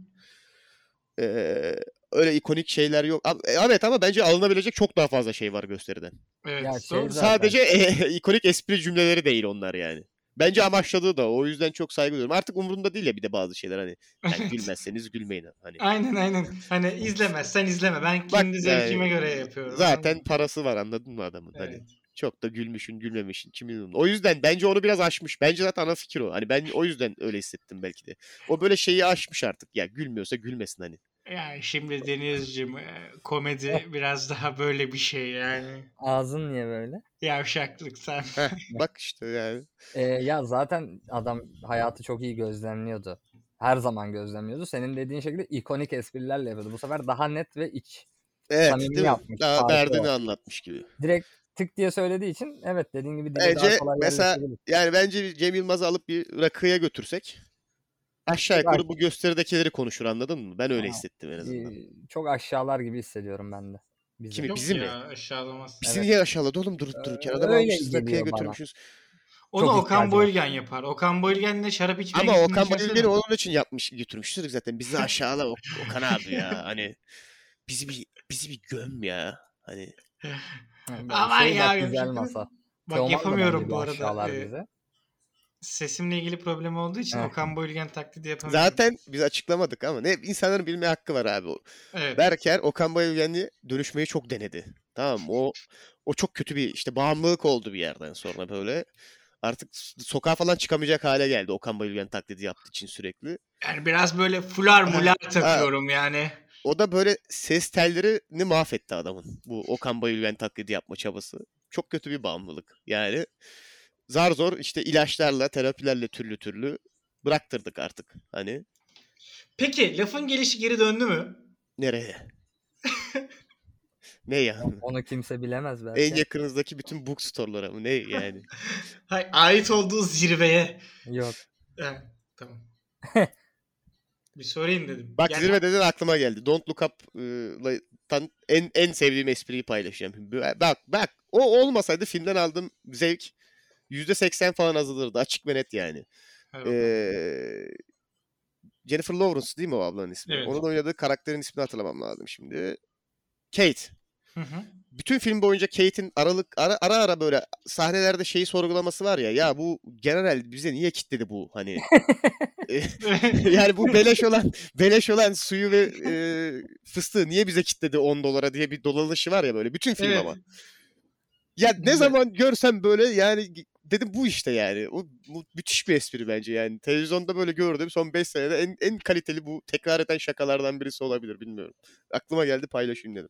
Speaker 1: Ee, öyle ikonik şeyler yok. Ab- e, Evet ama bence alınabilecek çok daha fazla şey var gösteriden.
Speaker 3: Evet,
Speaker 2: Ya şey
Speaker 3: doğru.
Speaker 2: zaten-
Speaker 1: Sadece e, ikonik espri cümleleri değil onlar yani. Bence amaçladığı da o. o yüzden çok saygı duyuyorum. Artık umurumda değil ya bir de bazı şeyler hani. Yani
Speaker 3: Evet.
Speaker 1: gülmezseniz gülmeyin hani.
Speaker 3: Aynen aynen. Hani izlemezsen izleme. Ben
Speaker 1: Bak,
Speaker 3: kendi zevkime
Speaker 1: yani
Speaker 3: göre yapıyorum.
Speaker 1: Zaten parası var anladın mı adamın
Speaker 3: Evet.
Speaker 1: hani. Çok da gülmüşün gülmemişin kimin umurunda. O yüzden bence onu biraz aşmış. Bence zaten ana fikir o. Hani ben o yüzden öyle hissettim belki de. O böyle şeyi aşmış artık. Ya gülmüyorsa gülmesin hani.
Speaker 3: Yani şimdi Denizciğim e, komedi biraz daha böyle bir şey yani.
Speaker 2: Ağzın niye böyle?
Speaker 3: Yavşaklık sen.
Speaker 1: Heh, bak işte yani.
Speaker 2: E, ya zaten adam hayatı çok iyi gözlemliyordu. Her zaman gözlemliyordu. Senin dediğin şekilde ikonik esprilerle yapıyordu. Bu sefer daha net ve iç.
Speaker 1: Evet
Speaker 2: Samimi
Speaker 1: değil mi?
Speaker 2: yapmış,
Speaker 1: Daha
Speaker 2: farkı
Speaker 1: derdini
Speaker 2: o.
Speaker 1: anlatmış gibi.
Speaker 2: Direkt tık diye söylediği için evet dediğin gibi dile daha
Speaker 1: Bence
Speaker 2: kolay
Speaker 1: mesela-
Speaker 2: yerleştirebilir.
Speaker 1: Yani bence bir Cem Yılmaz'ı alıp bir rakıya götürsek aşağı
Speaker 2: Bak.
Speaker 1: yukarı bu gösteridekileri konuşur anladın mı? Ben öyle
Speaker 2: Ha,
Speaker 1: hissettim en azından.
Speaker 2: Ee, çok aşağılar gibi hissediyorum ben de. Bizi.
Speaker 1: Kimi?
Speaker 3: Yok
Speaker 1: bizim
Speaker 3: ya
Speaker 1: mi?
Speaker 3: aşağılamaz.
Speaker 1: Bizi
Speaker 2: Evet.
Speaker 1: niye aşağıladı oğlum durup dururken? Adam
Speaker 2: Ee, Öyle
Speaker 1: almışız rakıya
Speaker 2: geliyor bana.
Speaker 1: götürmüşüz.
Speaker 3: Onu
Speaker 2: Çok
Speaker 3: Okan
Speaker 2: ihtiyacı var.
Speaker 3: Boylgen yapar. Okan Boylgen de şarap içmeye
Speaker 1: Ama
Speaker 3: gittiğini
Speaker 1: Okan
Speaker 3: düşünsene.
Speaker 1: Bayülgen'i onun için yapmış götürmüştür zaten. Bizi aşağıla Ok- Okan abi ya. Hani bizi bir bizi bir göm ya. Hani
Speaker 2: Yani
Speaker 3: Aman
Speaker 2: şey
Speaker 3: ya,
Speaker 2: bak, güzel
Speaker 3: yapacak
Speaker 2: masa.
Speaker 3: Bak
Speaker 2: Teoman da
Speaker 3: yapamıyorum
Speaker 2: bence
Speaker 3: bu
Speaker 2: bir
Speaker 3: arada.
Speaker 2: aşağılar
Speaker 3: Ee,
Speaker 2: bizi.
Speaker 3: sesimle ilgili problem olduğu için
Speaker 2: Heh.
Speaker 3: Okan Boylgen taklidi yapamıyorum.
Speaker 1: zaten biz açıklamadık ama ne insanların bilme hakkı var abi. O-
Speaker 3: Evet.
Speaker 1: Berker Okan Bayülgen'i dönüşmeyi çok denedi. Tamam mı? o o çok kötü bir işte bağımlılık oldu bir yerden sonra böyle. Artık s- sokağa falan çıkamayacak hale geldi Okan Bayülgen taklidi yaptığı için sürekli.
Speaker 3: Yani biraz böyle fular mular takıyorum yani.
Speaker 1: O da böyle ses tellerini mahvetti adamın. Bu Okan Bayülgen taklidi yapma çabası. Çok kötü bir bağımlılık. Yani zar zor işte ilaçlarla, terapilerle türlü türlü bıraktırdık artık. Hani
Speaker 3: Peki lafın gelişi geri döndü mü?
Speaker 1: nereye? ne ya?
Speaker 2: Onu kimse bilemez belki.
Speaker 1: En yakınızdaki bütün bookstore'lara mı? Ne yani?
Speaker 3: Hayır, ait olduğu zirveye.
Speaker 2: Yok.
Speaker 3: Evet, tamam. bir sorayım dedim.
Speaker 1: Bak
Speaker 3: Yani-
Speaker 1: zirve dedin aklıma geldi. Don't Look Up'tan en en sevdiğim espriyi paylaşacağım. B- Bak bak o olmasaydı filmden aldığım zevk %80 falan azalırdı. Açık ve net yani.
Speaker 3: Evet.
Speaker 1: Ee, Jennifer Lawrence değil mi o ablanın ismi?
Speaker 3: Evet.
Speaker 1: Onun oynadığı karakterin ismini hatırlamam lazım şimdi. Kate.
Speaker 3: Hı hı.
Speaker 1: Bütün film boyunca Kate'in aralık ara, ara ara böyle sahnelerde şeyi sorgulaması var ya. Ya bu general bize niye kitledi bu hani? yani bu beleş olan beleş olan suyu ve e, fıstığı niye bize kitledi 10 dolara diye bir dolanışı var ya böyle bütün film
Speaker 3: Evet.
Speaker 1: ama. Ya ne
Speaker 3: Güzel.
Speaker 1: zaman görsem böyle yani dedim bu işte yani. O bu müthiş bir espri bence yani. Televizyonda böyle gördüğüm son 5 senede en en kaliteli bu tekrar eden şakalardan birisi olabilir bilmiyorum. Aklıma geldi paylaşayım dedim.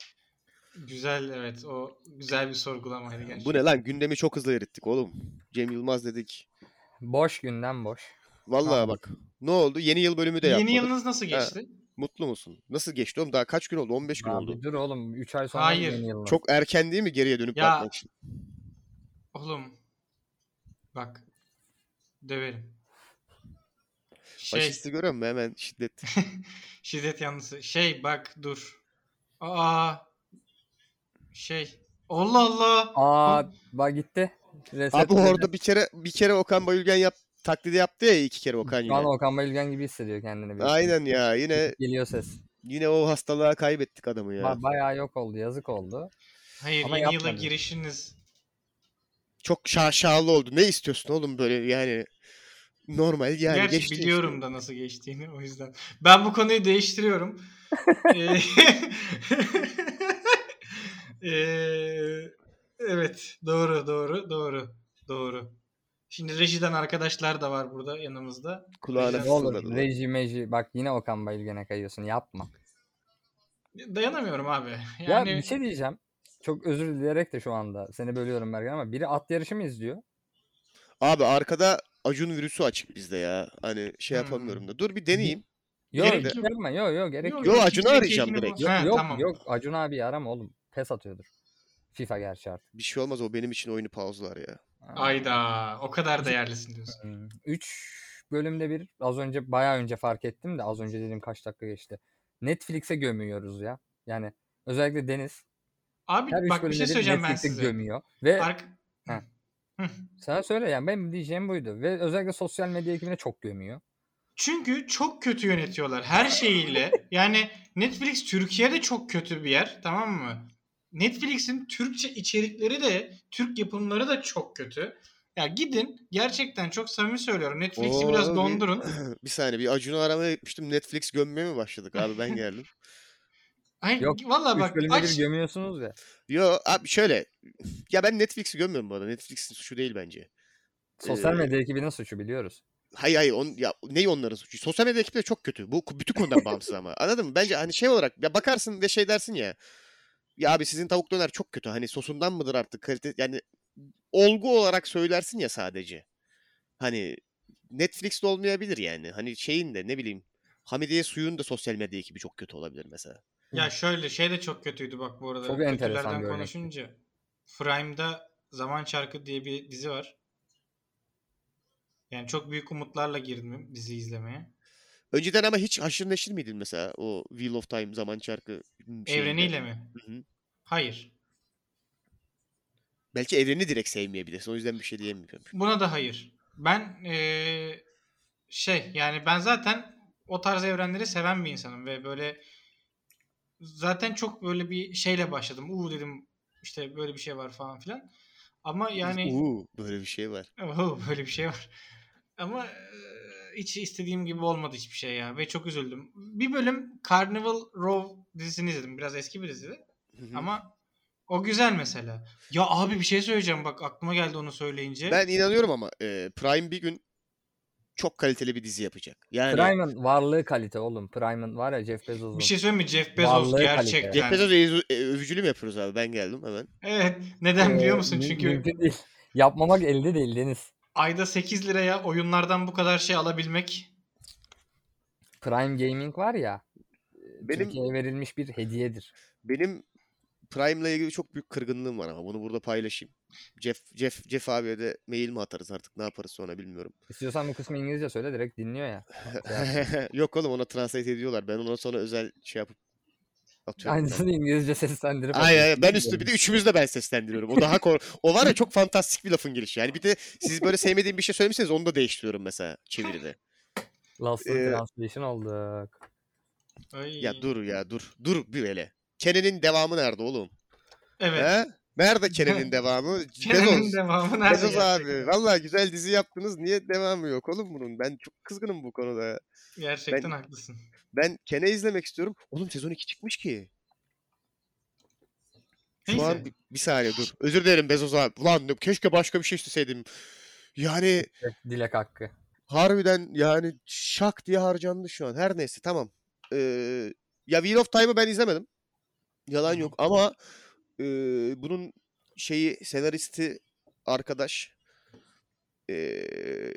Speaker 3: Güzel evet o güzel bir sorgulamaydı gerçekten.
Speaker 1: Bu ne lan gündemi çok hızlı erittik oğlum. Cem Yılmaz dedik.
Speaker 2: Boş günden boş.
Speaker 1: Vallahi
Speaker 2: Tamam.
Speaker 1: bak. Ne oldu? Yeni yıl bölümü de
Speaker 3: Yeni
Speaker 1: yapmadık.
Speaker 3: yılınız nasıl geçti?
Speaker 1: Mutlu musun? Nasıl geçti oğlum? Daha kaç gün oldu? 15 gün
Speaker 2: Abi
Speaker 1: oldu.
Speaker 2: dur oğlum 3 ay sonra
Speaker 3: Hayır.
Speaker 2: yeni yıl var.
Speaker 1: Çok erken değil mi geriye dönüp
Speaker 3: Ya.
Speaker 1: bakmak için?
Speaker 3: Oğlum. Bak. Döverim. Şey,
Speaker 1: Faşisti görüyor musun? Hemen şiddet.
Speaker 3: şiddet yanlısı. Şey bak dur. Aa. Şey. Allah Allah.
Speaker 2: Aa bak gitti. Reset
Speaker 1: Abi orada bir kere bir kere Okan Bayülgen yap taklidi yaptı ya iki kere Okan
Speaker 2: Şu an
Speaker 1: yine.
Speaker 2: Okan Bayülgen gibi hissediyor kendini. biraz.
Speaker 1: Aynen ya yine
Speaker 2: Geliyor ses.
Speaker 1: yine o hastalığa kaybettik adamı ya.
Speaker 2: Ba- bayağı yok oldu yazık oldu.
Speaker 3: Hayır
Speaker 2: Ama
Speaker 3: yeni yıla
Speaker 2: yapmadı.
Speaker 3: girişiniz.
Speaker 1: Çok şaşalı oldu. Ne istiyorsun oğlum böyle yani normal yani
Speaker 3: Gerçi
Speaker 1: geçti
Speaker 3: biliyorum
Speaker 1: işte.
Speaker 3: da nasıl geçtiğini o yüzden. Ben bu konuyu değiştiriyorum. Ee, Ee, evet doğru doğru doğru doğru. Şimdi rejiden arkadaşlar da var burada yanımızda.
Speaker 1: Kulağına
Speaker 3: Ne
Speaker 2: Ne olur
Speaker 1: fısıldadılar.
Speaker 2: reji meji bak yine Okan Bayülgen'e kayıyorsun yapma.
Speaker 3: Dayanamıyorum abi.
Speaker 2: Ya
Speaker 3: Yani
Speaker 2: bir şey diyeceğim. Çok özür dileyerek de şu anda seni bölüyorum Bergen ama biri at yarışı mı izliyor?
Speaker 1: Abi arkada Acun virüsü açık bizde ya. Hani şey
Speaker 3: Hmm.
Speaker 1: yapamıyorum da. Dur bir deneyeyim.
Speaker 2: Yok
Speaker 3: Gerek
Speaker 2: gerek
Speaker 3: yok.
Speaker 2: yok. Yok yok gerek yok.
Speaker 1: Yo,
Speaker 3: ikinci
Speaker 1: Acun'u
Speaker 3: de
Speaker 1: arayacağım
Speaker 3: keyfini
Speaker 1: direkt.
Speaker 3: bul- Ha,
Speaker 2: yok
Speaker 3: tamam.
Speaker 2: yok Acun abi arama oğlum. Pes atıyordur. FIFA gerçi artık.
Speaker 1: Bir şey olmaz o benim için oyunu pauzlar ya.
Speaker 3: Ayda o kadar değerlisin diyorsun.
Speaker 2: 3 Hmm, bölümde bir az önce bayağı önce fark ettim de az önce dedim kaç dakika geçti. Netflix'e gömüyoruz ya. Yani özellikle Deniz
Speaker 3: Abi
Speaker 2: her 3
Speaker 3: bak bir
Speaker 2: bölümde
Speaker 3: şey
Speaker 2: bir
Speaker 3: söyleyeceğim ben
Speaker 2: Netflix'e
Speaker 3: size.
Speaker 2: gömüyor. Ve
Speaker 3: Ark-
Speaker 2: Heh.
Speaker 3: Hı.
Speaker 2: sana söyle yani benim diyeceğim buydu. Ve özellikle sosyal medya ekibine çok gömüyor.
Speaker 3: Çünkü çok kötü yönetiyorlar her şeyiyle. Yani Netflix Türkiye'de çok kötü bir yer tamam mı? Netflix'in Türkçe içerikleri de Türk yapımları da çok kötü. Ya gidin gerçekten çok samimi söylüyorum. Netflix'i
Speaker 1: Oo,
Speaker 3: biraz
Speaker 1: bir-
Speaker 3: dondurun.
Speaker 1: bir saniye bir Acun'u aramaya gitmiştim. Netflix gömmeye mi başladık abi ben geldim.
Speaker 3: Hayır
Speaker 2: Yok,
Speaker 3: valla
Speaker 2: 3
Speaker 3: bak
Speaker 2: bölümde
Speaker 3: aç.
Speaker 2: bir gömüyorsunuz ya.
Speaker 1: Yo abi şöyle. Ya ben Netflix'i gömmüyorum bu arada. Netflix'in suçu değil bence.
Speaker 2: Sosyal
Speaker 1: Ee,
Speaker 2: medya ekibinin suçu biliyoruz.
Speaker 1: Hayır hayır on, ya ne onların suçu? Sosyal medya ekipleri çok kötü. Bu bütün konudan bağımsız ama. Anladın mı? Bence hani şey olarak ya bakarsın ve şey dersin ya. Ya abi sizin tavuk döner çok kötü. Hani sosundan mıdır artık kalite yani olgu olarak söylersin ya sadece. Hani Netflix'te olmayabilir yani. Hani şeyin de ne bileyim Hamidiye Suyu'nun da sosyal medya ekibi çok kötü olabilir mesela.
Speaker 3: Ya şöyle şey de çok kötüydü bak bu arada.
Speaker 2: Çok
Speaker 3: Kötülerden
Speaker 2: enteresan bir örnek.
Speaker 3: konuşunca. Prime'da Zaman Çarkı diye bir dizi var. Yani çok büyük umutlarla girdim dizi izlemeye.
Speaker 1: Önceden ama hiç haşır neşir miydin mesela o Wheel of Time zaman çarkı şey şeyinde?
Speaker 3: Evreniyle mi?
Speaker 1: Hı hı.
Speaker 3: Hayır.
Speaker 1: Belki evreni direkt sevmeyebilirsin. O yüzden bir şey diyemiyorum.
Speaker 3: Buna da hayır. Ben eee, şey yani ben zaten o tarz evrenleri seven bir insanım ve böyle zaten çok böyle bir şeyle başladım. Uuu dedim işte böyle bir şey var falan filan. Ama yani
Speaker 1: Uuu böyle bir şey var.
Speaker 3: Oho, böyle bir şey var. Ama eee, hiç istediğim gibi olmadı hiçbir şey ya ve çok üzüldüm. Bir bölüm Carnival Row dizisini izledim. Biraz eski bir dizi
Speaker 1: Hı hı.
Speaker 3: ama o güzel mesela. Ya abi bir şey söyleyeceğim bak aklıma geldi onu söyleyince.
Speaker 1: Ben inanıyorum ama e, Prime bir gün çok kaliteli bir dizi yapacak. Yani
Speaker 2: Prime'ın varlığı kalite oğlum. Prime'ın var ya Jeff Bezos'un.
Speaker 3: Bir şey söyleyeyim mi? Jeff Bezos
Speaker 2: Varlığı
Speaker 3: gerçekten.
Speaker 1: Jeff Bezos'a övü- e, övücülü mü yapıyoruz abi? Ben geldim hemen.
Speaker 3: Evet. Neden
Speaker 2: Ee,
Speaker 3: biliyor musun?
Speaker 2: mü-
Speaker 3: Çünkü
Speaker 2: mümkün değil. Yapmamak elde değil Deniz.
Speaker 3: ayda 8 liraya oyunlardan bu kadar şey alabilmek.
Speaker 2: Prime Gaming var ya.
Speaker 1: Benim-
Speaker 2: Türkiye'ye verilmiş bir hediyedir.
Speaker 1: Benim Prime'la ilgili çok büyük kırgınlığım var ama bunu burada paylaşayım. Jeff Jeff Jeff abiye de mail mi atarız artık ne yaparız sonra bilmiyorum.
Speaker 2: İstiyorsan bu kısmı İngilizce söyle direkt dinliyor ya.
Speaker 1: Yok oğlum ona translate ediyorlar. Ben ona sonra özel şey yapıp atıyorum.
Speaker 2: Aynısını İngilizce seslendirip.
Speaker 1: Ay ay ben üstü bir de üçümüz de ben seslendiriyorum. O daha kor o var ya çok fantastik bir lafın girişi. Yani bir de siz böyle sevmediğim bir şey söylemişseniz onu da değiştiriyorum mesela çeviride.
Speaker 2: Last
Speaker 1: Ee,
Speaker 2: Translation olduk.
Speaker 3: Ay.
Speaker 1: Ya dur ya dur. Dur bir hele. Kenan'ın devamı nerede oğlum?
Speaker 3: Evet.
Speaker 1: He? Nerede Kenan'ın devamı?
Speaker 3: Kenan'ın
Speaker 1: Ee, Bezos.
Speaker 3: devamı nerede?
Speaker 1: Bezos
Speaker 3: gerçekten?
Speaker 1: abi. Vallahi güzel dizi yaptınız. Niye devamı yok oğlum bunun? Ben çok kızgınım bu konuda.
Speaker 3: Gerçekten
Speaker 1: Ben-
Speaker 3: haklısın.
Speaker 1: Ben Kenan'ı izlemek istiyorum. Oğlum sezon 2 çıkmış ki. Şu
Speaker 3: Neyse.
Speaker 1: an bir, bir saniye dur. Özür dilerim Bezos abi. Ulan keşke başka bir şey isteseydim. Yani
Speaker 2: Evet, Dilek hakkı.
Speaker 1: Harbiden yani şak diye harcandı şu an. Her neyse tamam. Ee, ya Wheel of Time'ı ben izlemedim. Yalan
Speaker 3: Hı hı.
Speaker 1: yok ama e, bunun şeyi senaristi arkadaş e,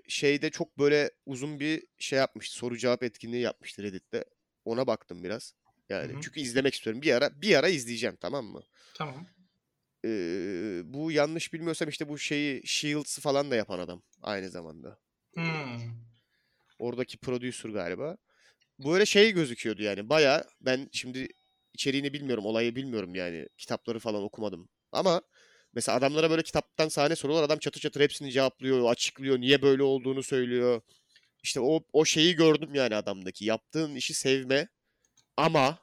Speaker 1: şeyde çok böyle uzun bir şey yapmıştı. Soru cevap etkinliği yapmıştı Reddit'te. Ona baktım biraz. Yani
Speaker 3: Hı hı.
Speaker 1: çünkü izlemek istiyorum. Bir ara bir ara izleyeceğim tamam mı?
Speaker 3: Tamam.
Speaker 1: Ee, bu yanlış bilmiyorsam işte bu şeyi Shields'ı falan da yapan adam aynı zamanda.
Speaker 3: Hmm.
Speaker 1: Oradaki prodüser galiba. Böyle şey gözüküyordu yani. Baya ben şimdi içeriğini bilmiyorum, olayı bilmiyorum yani. Kitapları falan okumadım. Ama mesela adamlara böyle kitaptan sahne sorular. Adam çatır çatır hepsini cevaplıyor, açıklıyor. Niye böyle olduğunu söylüyor. İşte o, o şeyi gördüm yani adamdaki. Yaptığın işi sevme ama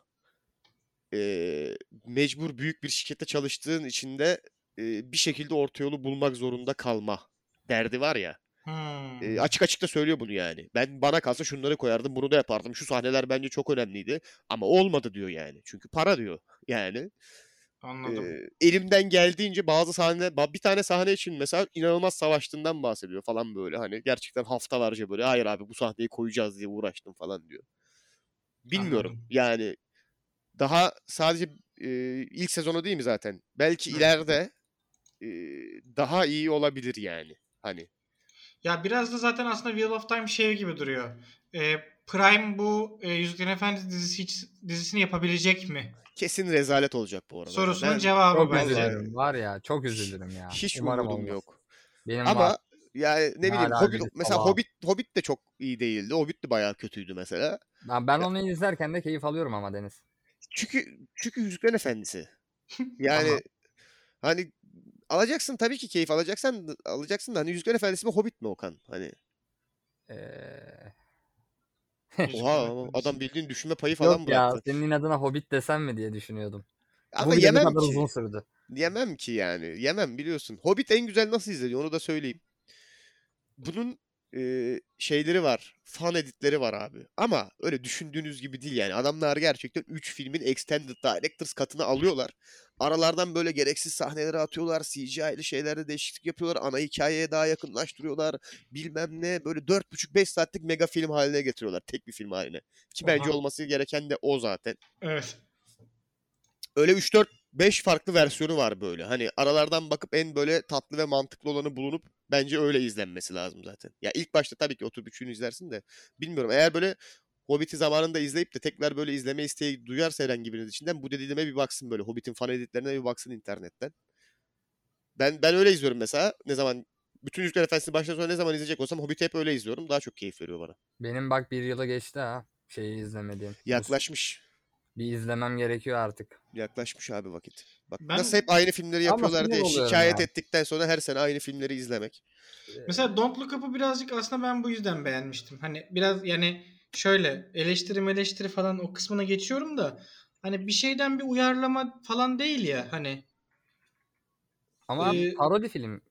Speaker 1: eee, mecbur büyük bir şirkette çalıştığın içinde eee, bir şekilde orta yolu bulmak zorunda kalma derdi var ya.
Speaker 3: Hmm.
Speaker 1: E, açık açık da söylüyor bunu yani. Ben bana kalsa şunları koyardım, bunu da yapardım. Şu sahneler bence çok önemliydi ama olmadı diyor yani. Çünkü para diyor yani.
Speaker 3: Anladım.
Speaker 1: E, elimden geldiğince bazı sahne ba- bir tane sahne için mesela inanılmaz savaştığından bahsediyor falan böyle hani gerçekten haftalarca böyle hayır abi bu sahneyi koyacağız diye uğraştım falan diyor. Bilmiyorum.
Speaker 3: Anladım.
Speaker 1: Yani daha sadece e, ilk sezonu değil mi zaten? Belki
Speaker 3: Hı.
Speaker 1: ileride e, daha iyi olabilir yani. Hani
Speaker 3: Ya biraz da zaten aslında Wheel of Time şey gibi duruyor. Ee, Prime bu e, Yüzüklerin Efendisi dizisi hiç- dizisini yapabilecek mi?
Speaker 1: kesin rezalet olacak bu arada.
Speaker 3: Sorusunun
Speaker 1: Ben-
Speaker 3: cevabı
Speaker 2: Çok
Speaker 3: bence.
Speaker 2: üzülürüm var ya çok üzülürüm ya.
Speaker 1: Hiç
Speaker 2: Umarım
Speaker 1: umudum
Speaker 2: olmaz.
Speaker 1: yok.
Speaker 2: Benim
Speaker 1: Ama
Speaker 2: var.
Speaker 1: yani ne bileyim
Speaker 2: Hala
Speaker 1: Hobbit,
Speaker 2: bir
Speaker 1: mesela
Speaker 2: sabah.
Speaker 1: Hobbit Hobbit de çok iyi değildi. Hobbit de bayağı kötüydü mesela.
Speaker 2: Ben, ben onu izlerken de keyif alıyorum ama Deniz.
Speaker 1: Çünkü çünkü Yüzüklerin Efendisi. Yani hani alacaksın tabii ki keyif alacaksan alacaksın da hani Yüzüklerin Efendisi mi Hobbit mi Okan? Hani
Speaker 2: Ee,
Speaker 3: Yüzüklerin
Speaker 1: oha
Speaker 3: Efendisi.
Speaker 1: adam bildiğin düşünme payı falan
Speaker 2: yok ya
Speaker 1: bıraktı.
Speaker 2: senin inadına Hobbit desem mi diye düşünüyordum.
Speaker 1: Ama
Speaker 2: Bu bile ne
Speaker 1: yemem
Speaker 2: kadar
Speaker 1: ki.
Speaker 2: uzun sürdü.
Speaker 1: Yemem ki yani. Yemem biliyorsun. Hobbit en güzel nasıl izleniyor onu da söyleyeyim. Bunun e, şeyleri var. Fan editleri var abi. Ama öyle düşündüğünüz gibi değil yani. Adamlar gerçekten 3 filmin extended director's katını alıyorlar. Aralardan böyle gereksiz sahneleri atıyorlar. CGI'li şeylerde değişiklik yapıyorlar. Ana hikayeye daha yakınlaştırıyorlar. Bilmem ne. Böyle 4,5-5 saatlik mega film haline getiriyorlar. Tek bir film haline. Ki bence
Speaker 3: Oha.
Speaker 1: olması gereken de o zaten
Speaker 3: Evet.
Speaker 1: öyle 3 4 5 farklı versiyonu var böyle. Hani aralardan bakıp en böyle tatlı ve mantıklı olanı bulunup bence öyle izlenmesi lazım zaten. Ya ilk başta tabii ki oturup üçünü izlersin de bilmiyorum. Eğer böyle Hobbit'i zamanında izleyip de tekrar böyle izleme isteği duyarsa herhangi biriniz içinden bu dediğime bir baksın böyle. Hobbit'in fan editlerine bir baksın internetten. Ben ben öyle izliyorum mesela. Ne zaman bütün Yüzükler Efendisi'ni baştan sona ne zaman izleyecek olsam Hobbit'i hep öyle izliyorum. Daha çok keyif veriyor bana.
Speaker 2: Benim bak bir yıla geçti ha şeyi izlemediğim. Bu-
Speaker 1: Yaklaşmış.
Speaker 2: Bir izlemem gerekiyor artık.
Speaker 1: Yaklaşmış abi vakit. Bak
Speaker 3: Ben-
Speaker 1: nasıl hep aynı filmleri
Speaker 2: Ama
Speaker 1: yapıyorlar
Speaker 2: sinir
Speaker 1: diye
Speaker 2: oluyorum
Speaker 1: şikayet
Speaker 2: ya.
Speaker 1: ettikten sonra her sene aynı filmleri izlemek.
Speaker 3: Mesela Don't Look Up'ı birazcık aslında ben bu yüzden beğenmiştim. Hani biraz yani şöyle eleştiri eleştiri falan o kısmına geçiyorum da hani bir şeyden bir uyarlama falan değil ya hani
Speaker 2: Ama
Speaker 3: Ee,
Speaker 2: parodi film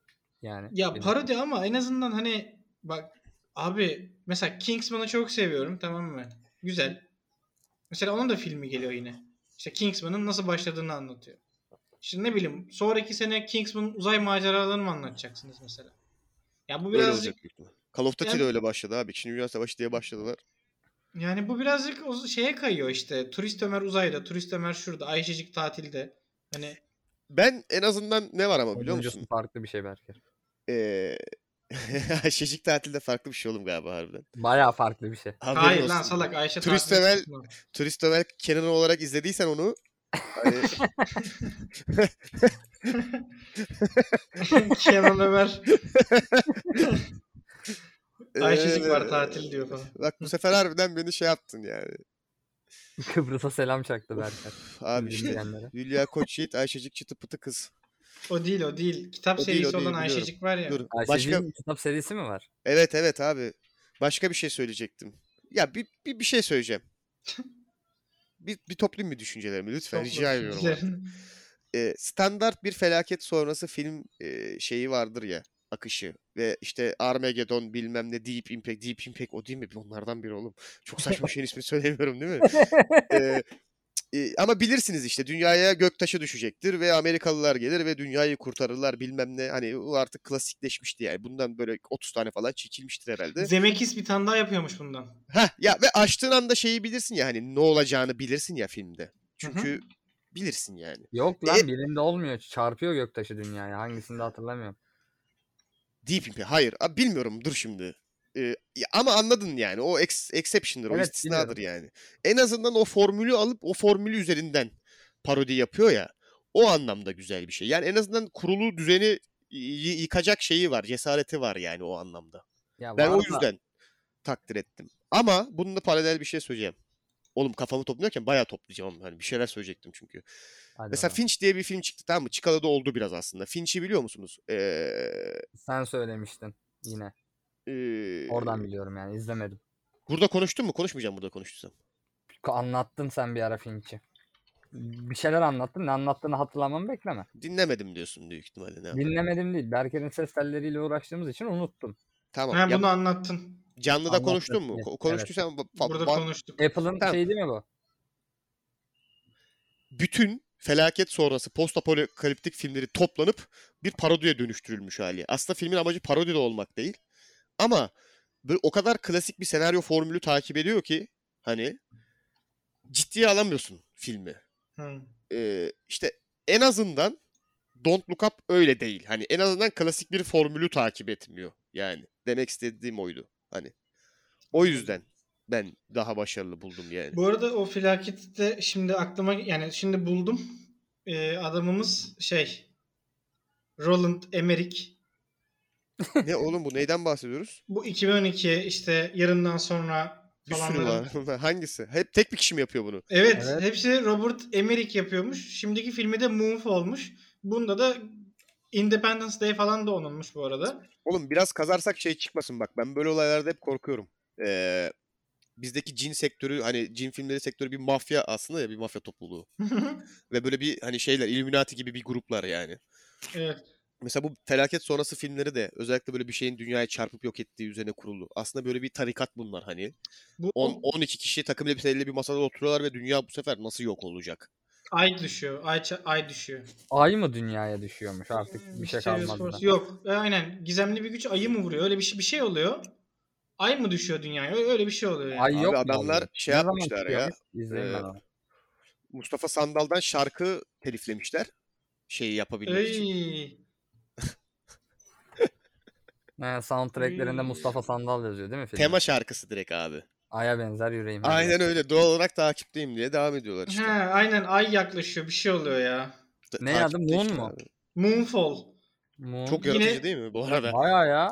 Speaker 2: yani.
Speaker 3: Ya
Speaker 2: benim.
Speaker 3: parodi ama en azından hani bak abi mesela Kingsman'ı çok seviyorum tamam mı? Güzel. Mesela onun da filmi geliyor yine. İşte Kingsman'ın nasıl başladığını anlatıyor. Şimdi ne bileyim sonraki sene Kingsman'ın uzay maceralarını mı anlatacaksınız mesela? Ya bu
Speaker 1: Öyle
Speaker 3: birazcık
Speaker 1: olacak büyük ihtimal. Call of Duty de
Speaker 3: Yani-
Speaker 1: öyle başladı abi. İkinci Dünya Savaşı diye başladılar.
Speaker 3: yani bu birazcık o şeye kayıyor işte. Turist Ömer uzayda, turist Ömer şurada, Ayşecik tatilde. Hani
Speaker 1: Ben en azından ne var ama biliyor
Speaker 2: Sonuncusu
Speaker 1: musun?
Speaker 2: Farklı bir şey belki.
Speaker 1: Ee, Şecik tatilde farklı bir şey oğlum galiba harbiden.
Speaker 2: Bayağı farklı bir şey.
Speaker 1: Haberin
Speaker 3: hayır lan
Speaker 1: olsun.
Speaker 3: salak Ayşe
Speaker 1: Turist
Speaker 3: tatilde
Speaker 1: Ömer-
Speaker 3: kısmı.
Speaker 1: Turist Ömer Kenan olarak izlediysen onu hani
Speaker 3: Kenan Ömer Ayşecik
Speaker 1: Ee,
Speaker 3: var tatil diyor falan.
Speaker 1: Bak bu sefer harbiden beni şey yaptın yani.
Speaker 2: Kıbrıs'a selam çaktı Berker.
Speaker 1: Abi
Speaker 2: Üzüldüm
Speaker 1: işte
Speaker 2: diyenlere.
Speaker 1: Hülya Koçyiğit, Ayşecik çıtı pıtı kız.
Speaker 3: O değil o değil. Kitap
Speaker 1: O değil,
Speaker 3: serisi
Speaker 1: o değil,
Speaker 3: olan
Speaker 1: biliyorum.
Speaker 3: Ayşecik var ya.
Speaker 1: Dur başka
Speaker 2: Ayşecik'in kitap serisi mi var?
Speaker 1: Evet evet abi. Başka bir şey söyleyecektim. Ya bir bir, bir şey söyleyeceğim. bir, bir toplayayım mı düşüncelerimi lütfen
Speaker 3: Topla
Speaker 1: rica ediyorum. abi.
Speaker 3: düşüncelerini.
Speaker 1: Ee, standart bir felaket sonrası film e, şeyi vardır ya akışı ve işte Armageddon bilmem ne Deep Impact Deep Impact o değil mi? Onlardan biri oğlum. Çok saçma bir şeyin ismini söylemiyorum değil mi? Ee, e, ama bilirsiniz işte dünyaya göktaşı düşecektir ve Amerikalılar gelir ve dünyayı kurtarırlar bilmem ne. Hani o artık klasikleşmişti yani. Bundan böyle 30 tane falan çekilmiştir herhalde.
Speaker 3: Zemekis bir tane daha yapıyormuş bundan.
Speaker 1: Heh, ya ve açtığın anda şeyi bilirsin ya hani ne olacağını bilirsin ya filmde. Çünkü bilirsin yani.
Speaker 2: Yok lan
Speaker 1: E-
Speaker 2: birinde olmuyor. Çarpıyor göktaşı dünyaya. Hangisini de hatırlamıyorum.
Speaker 1: Deep Impact. Hayır. a- bilmiyorum. Dur şimdi. e, ya ama anladın yani. O ex, exception'dır, o
Speaker 2: Evet,
Speaker 1: istisnadır yani. En azından o formülü alıp o formülü üzerinden parodi yapıyor ya. O anlamda güzel bir şey. Yani en azından kurulu düzeni y- yıkacak şeyi var, cesareti var yani o anlamda.
Speaker 2: Ya
Speaker 1: Ben
Speaker 2: var
Speaker 1: o
Speaker 2: da-
Speaker 1: yüzden takdir ettim. Ama bununla paralel bir şey söyleyeceğim. Oğlum kafamı topluyorken bayağı toplayacağım. Hani bir şeyler söyleyecektim çünkü.
Speaker 2: Hadi
Speaker 1: Mesela
Speaker 2: bakalım.
Speaker 1: Finch diye bir film çıktı tamam mı? Chicago'da oldu biraz aslında. Finch'i biliyor musunuz? Ee,
Speaker 2: sen söylemiştin yine.
Speaker 1: ee,
Speaker 2: Oradan biliyorum yani izlemedim.
Speaker 1: Burada konuştun mu? Konuşmayacağım burada konuştuysam.
Speaker 2: Ko- Anlattın sen bir ara Finch'i. Bir şeyler anlattın. Ne anlattığını hatırlamamı bekleme.
Speaker 1: Dinlemedim diyorsun büyük ihtimalle. Ne yapayım?
Speaker 2: Dinlemedim değil. Berker'in ses telleriyle uğraştığımız için unuttum.
Speaker 1: Tamam.
Speaker 3: Ha,
Speaker 1: ya
Speaker 3: bunu anlattın.
Speaker 1: canlıda
Speaker 2: Anlattım,
Speaker 1: konuştun mu?
Speaker 2: evet,
Speaker 1: Ko- Konuştuysan fa-
Speaker 3: Burada
Speaker 1: ba-
Speaker 3: konuştuk.
Speaker 2: Apple'ın
Speaker 1: Tamam.
Speaker 2: şey değil mi bu?
Speaker 1: bütün felaket sonrası postapokaliptik filmleri toplanıp bir parodiye dönüştürülmüş hali. Aslında filmin amacı parodi de olmak değil. Ama böyle o kadar klasik bir senaryo formülü takip ediyor ki hani ciddiye alamıyorsun filmi.
Speaker 3: Hı.
Speaker 1: Ee, işte en azından Don't Look Up öyle değil. Hani en azından klasik bir formülü takip etmiyor. Yani demek istediğim oydu. Hani o yüzden ben daha başarılı buldum yani.
Speaker 3: Bu arada o felakette şimdi aklıma yani şimdi buldum. Ee, adamımız şey Roland Emmerich.
Speaker 1: ne oğlum bu neyden bahsediyoruz?
Speaker 3: Bu 2012 işte yarından sonra
Speaker 1: Bir sürü
Speaker 3: falanların-
Speaker 1: var. Hangisi? Hep tek bir kişi mi yapıyor bunu?
Speaker 3: Evet,
Speaker 2: Evet.
Speaker 3: hepsi Robert Emmerich yapıyormuş. Şimdiki filmi de Moonfall olmuş. Bunda da Independence Day falan da onunmuş bu arada.
Speaker 1: Oğlum biraz kazarsak şey çıkmasın bak. Ben böyle olaylarda hep korkuyorum. Ee, bizdeki cin sektörü hani cin filmleri sektörü bir mafya aslında ya bir mafya topluluğu. Ve böyle bir hani şeyler Illuminati gibi bir gruplar yani.
Speaker 3: evet.
Speaker 1: Mesela bu felaket sonrası filmleri de özellikle böyle bir şeyin dünyayı çarpıp yok ettiği üzerine kurulu. Aslında böyle bir tarikat bunlar hani.
Speaker 3: Bu
Speaker 1: 10 12 kişi takım elbiseyle bir masada oturuyorlar ve dünya bu sefer nasıl yok olacak?
Speaker 3: ay düşüyor. Ay, ça- ay düşüyor.
Speaker 2: Ay mı dünyaya düşüyormuş
Speaker 3: Hmm,
Speaker 2: artık bir şey
Speaker 3: Mysterious
Speaker 2: kalmadı.
Speaker 3: Force-
Speaker 2: da.
Speaker 3: Yok. e, Aynen. Gizemli bir güç ayı mı vuruyor? Öyle bir şey, bir şey oluyor. Ay mı düşüyor dünyaya? Öyle öyle bir şey oluyor. Yani.
Speaker 2: Ay
Speaker 1: Abi
Speaker 2: yok mu
Speaker 1: adamlar
Speaker 2: abi?
Speaker 1: şey
Speaker 2: Ne zaman
Speaker 1: yapmışlar
Speaker 2: çıkıyor
Speaker 1: ya,
Speaker 2: biz? İzleyeyim ben
Speaker 1: e,
Speaker 2: onu.
Speaker 1: Mustafa Sandal'dan şarkı teliflemişler. Şeyi yapabilmek için.
Speaker 3: Ey.
Speaker 2: He, soundtracklerinde
Speaker 3: Hmm.
Speaker 2: Mustafa Sandal yazıyor değil mi filmin?
Speaker 1: Tema şarkısı direkt abi.
Speaker 2: Ay'a benzer yüreğim. her yer.
Speaker 1: Aynen öyle. Doğal olarak takipteyim diye devam ediyorlar işte.
Speaker 3: Ha, aynen ay yaklaşıyor. Bir şey oluyor ya.
Speaker 1: Ta-
Speaker 2: Ne adı?
Speaker 1: takipte
Speaker 2: Moon
Speaker 1: işte
Speaker 2: mu?
Speaker 1: abi.
Speaker 3: Moonfall.
Speaker 2: Moon.
Speaker 1: Çok
Speaker 3: Yine-
Speaker 1: yaratıcı değil mi bu arada?
Speaker 2: Bayağı ya.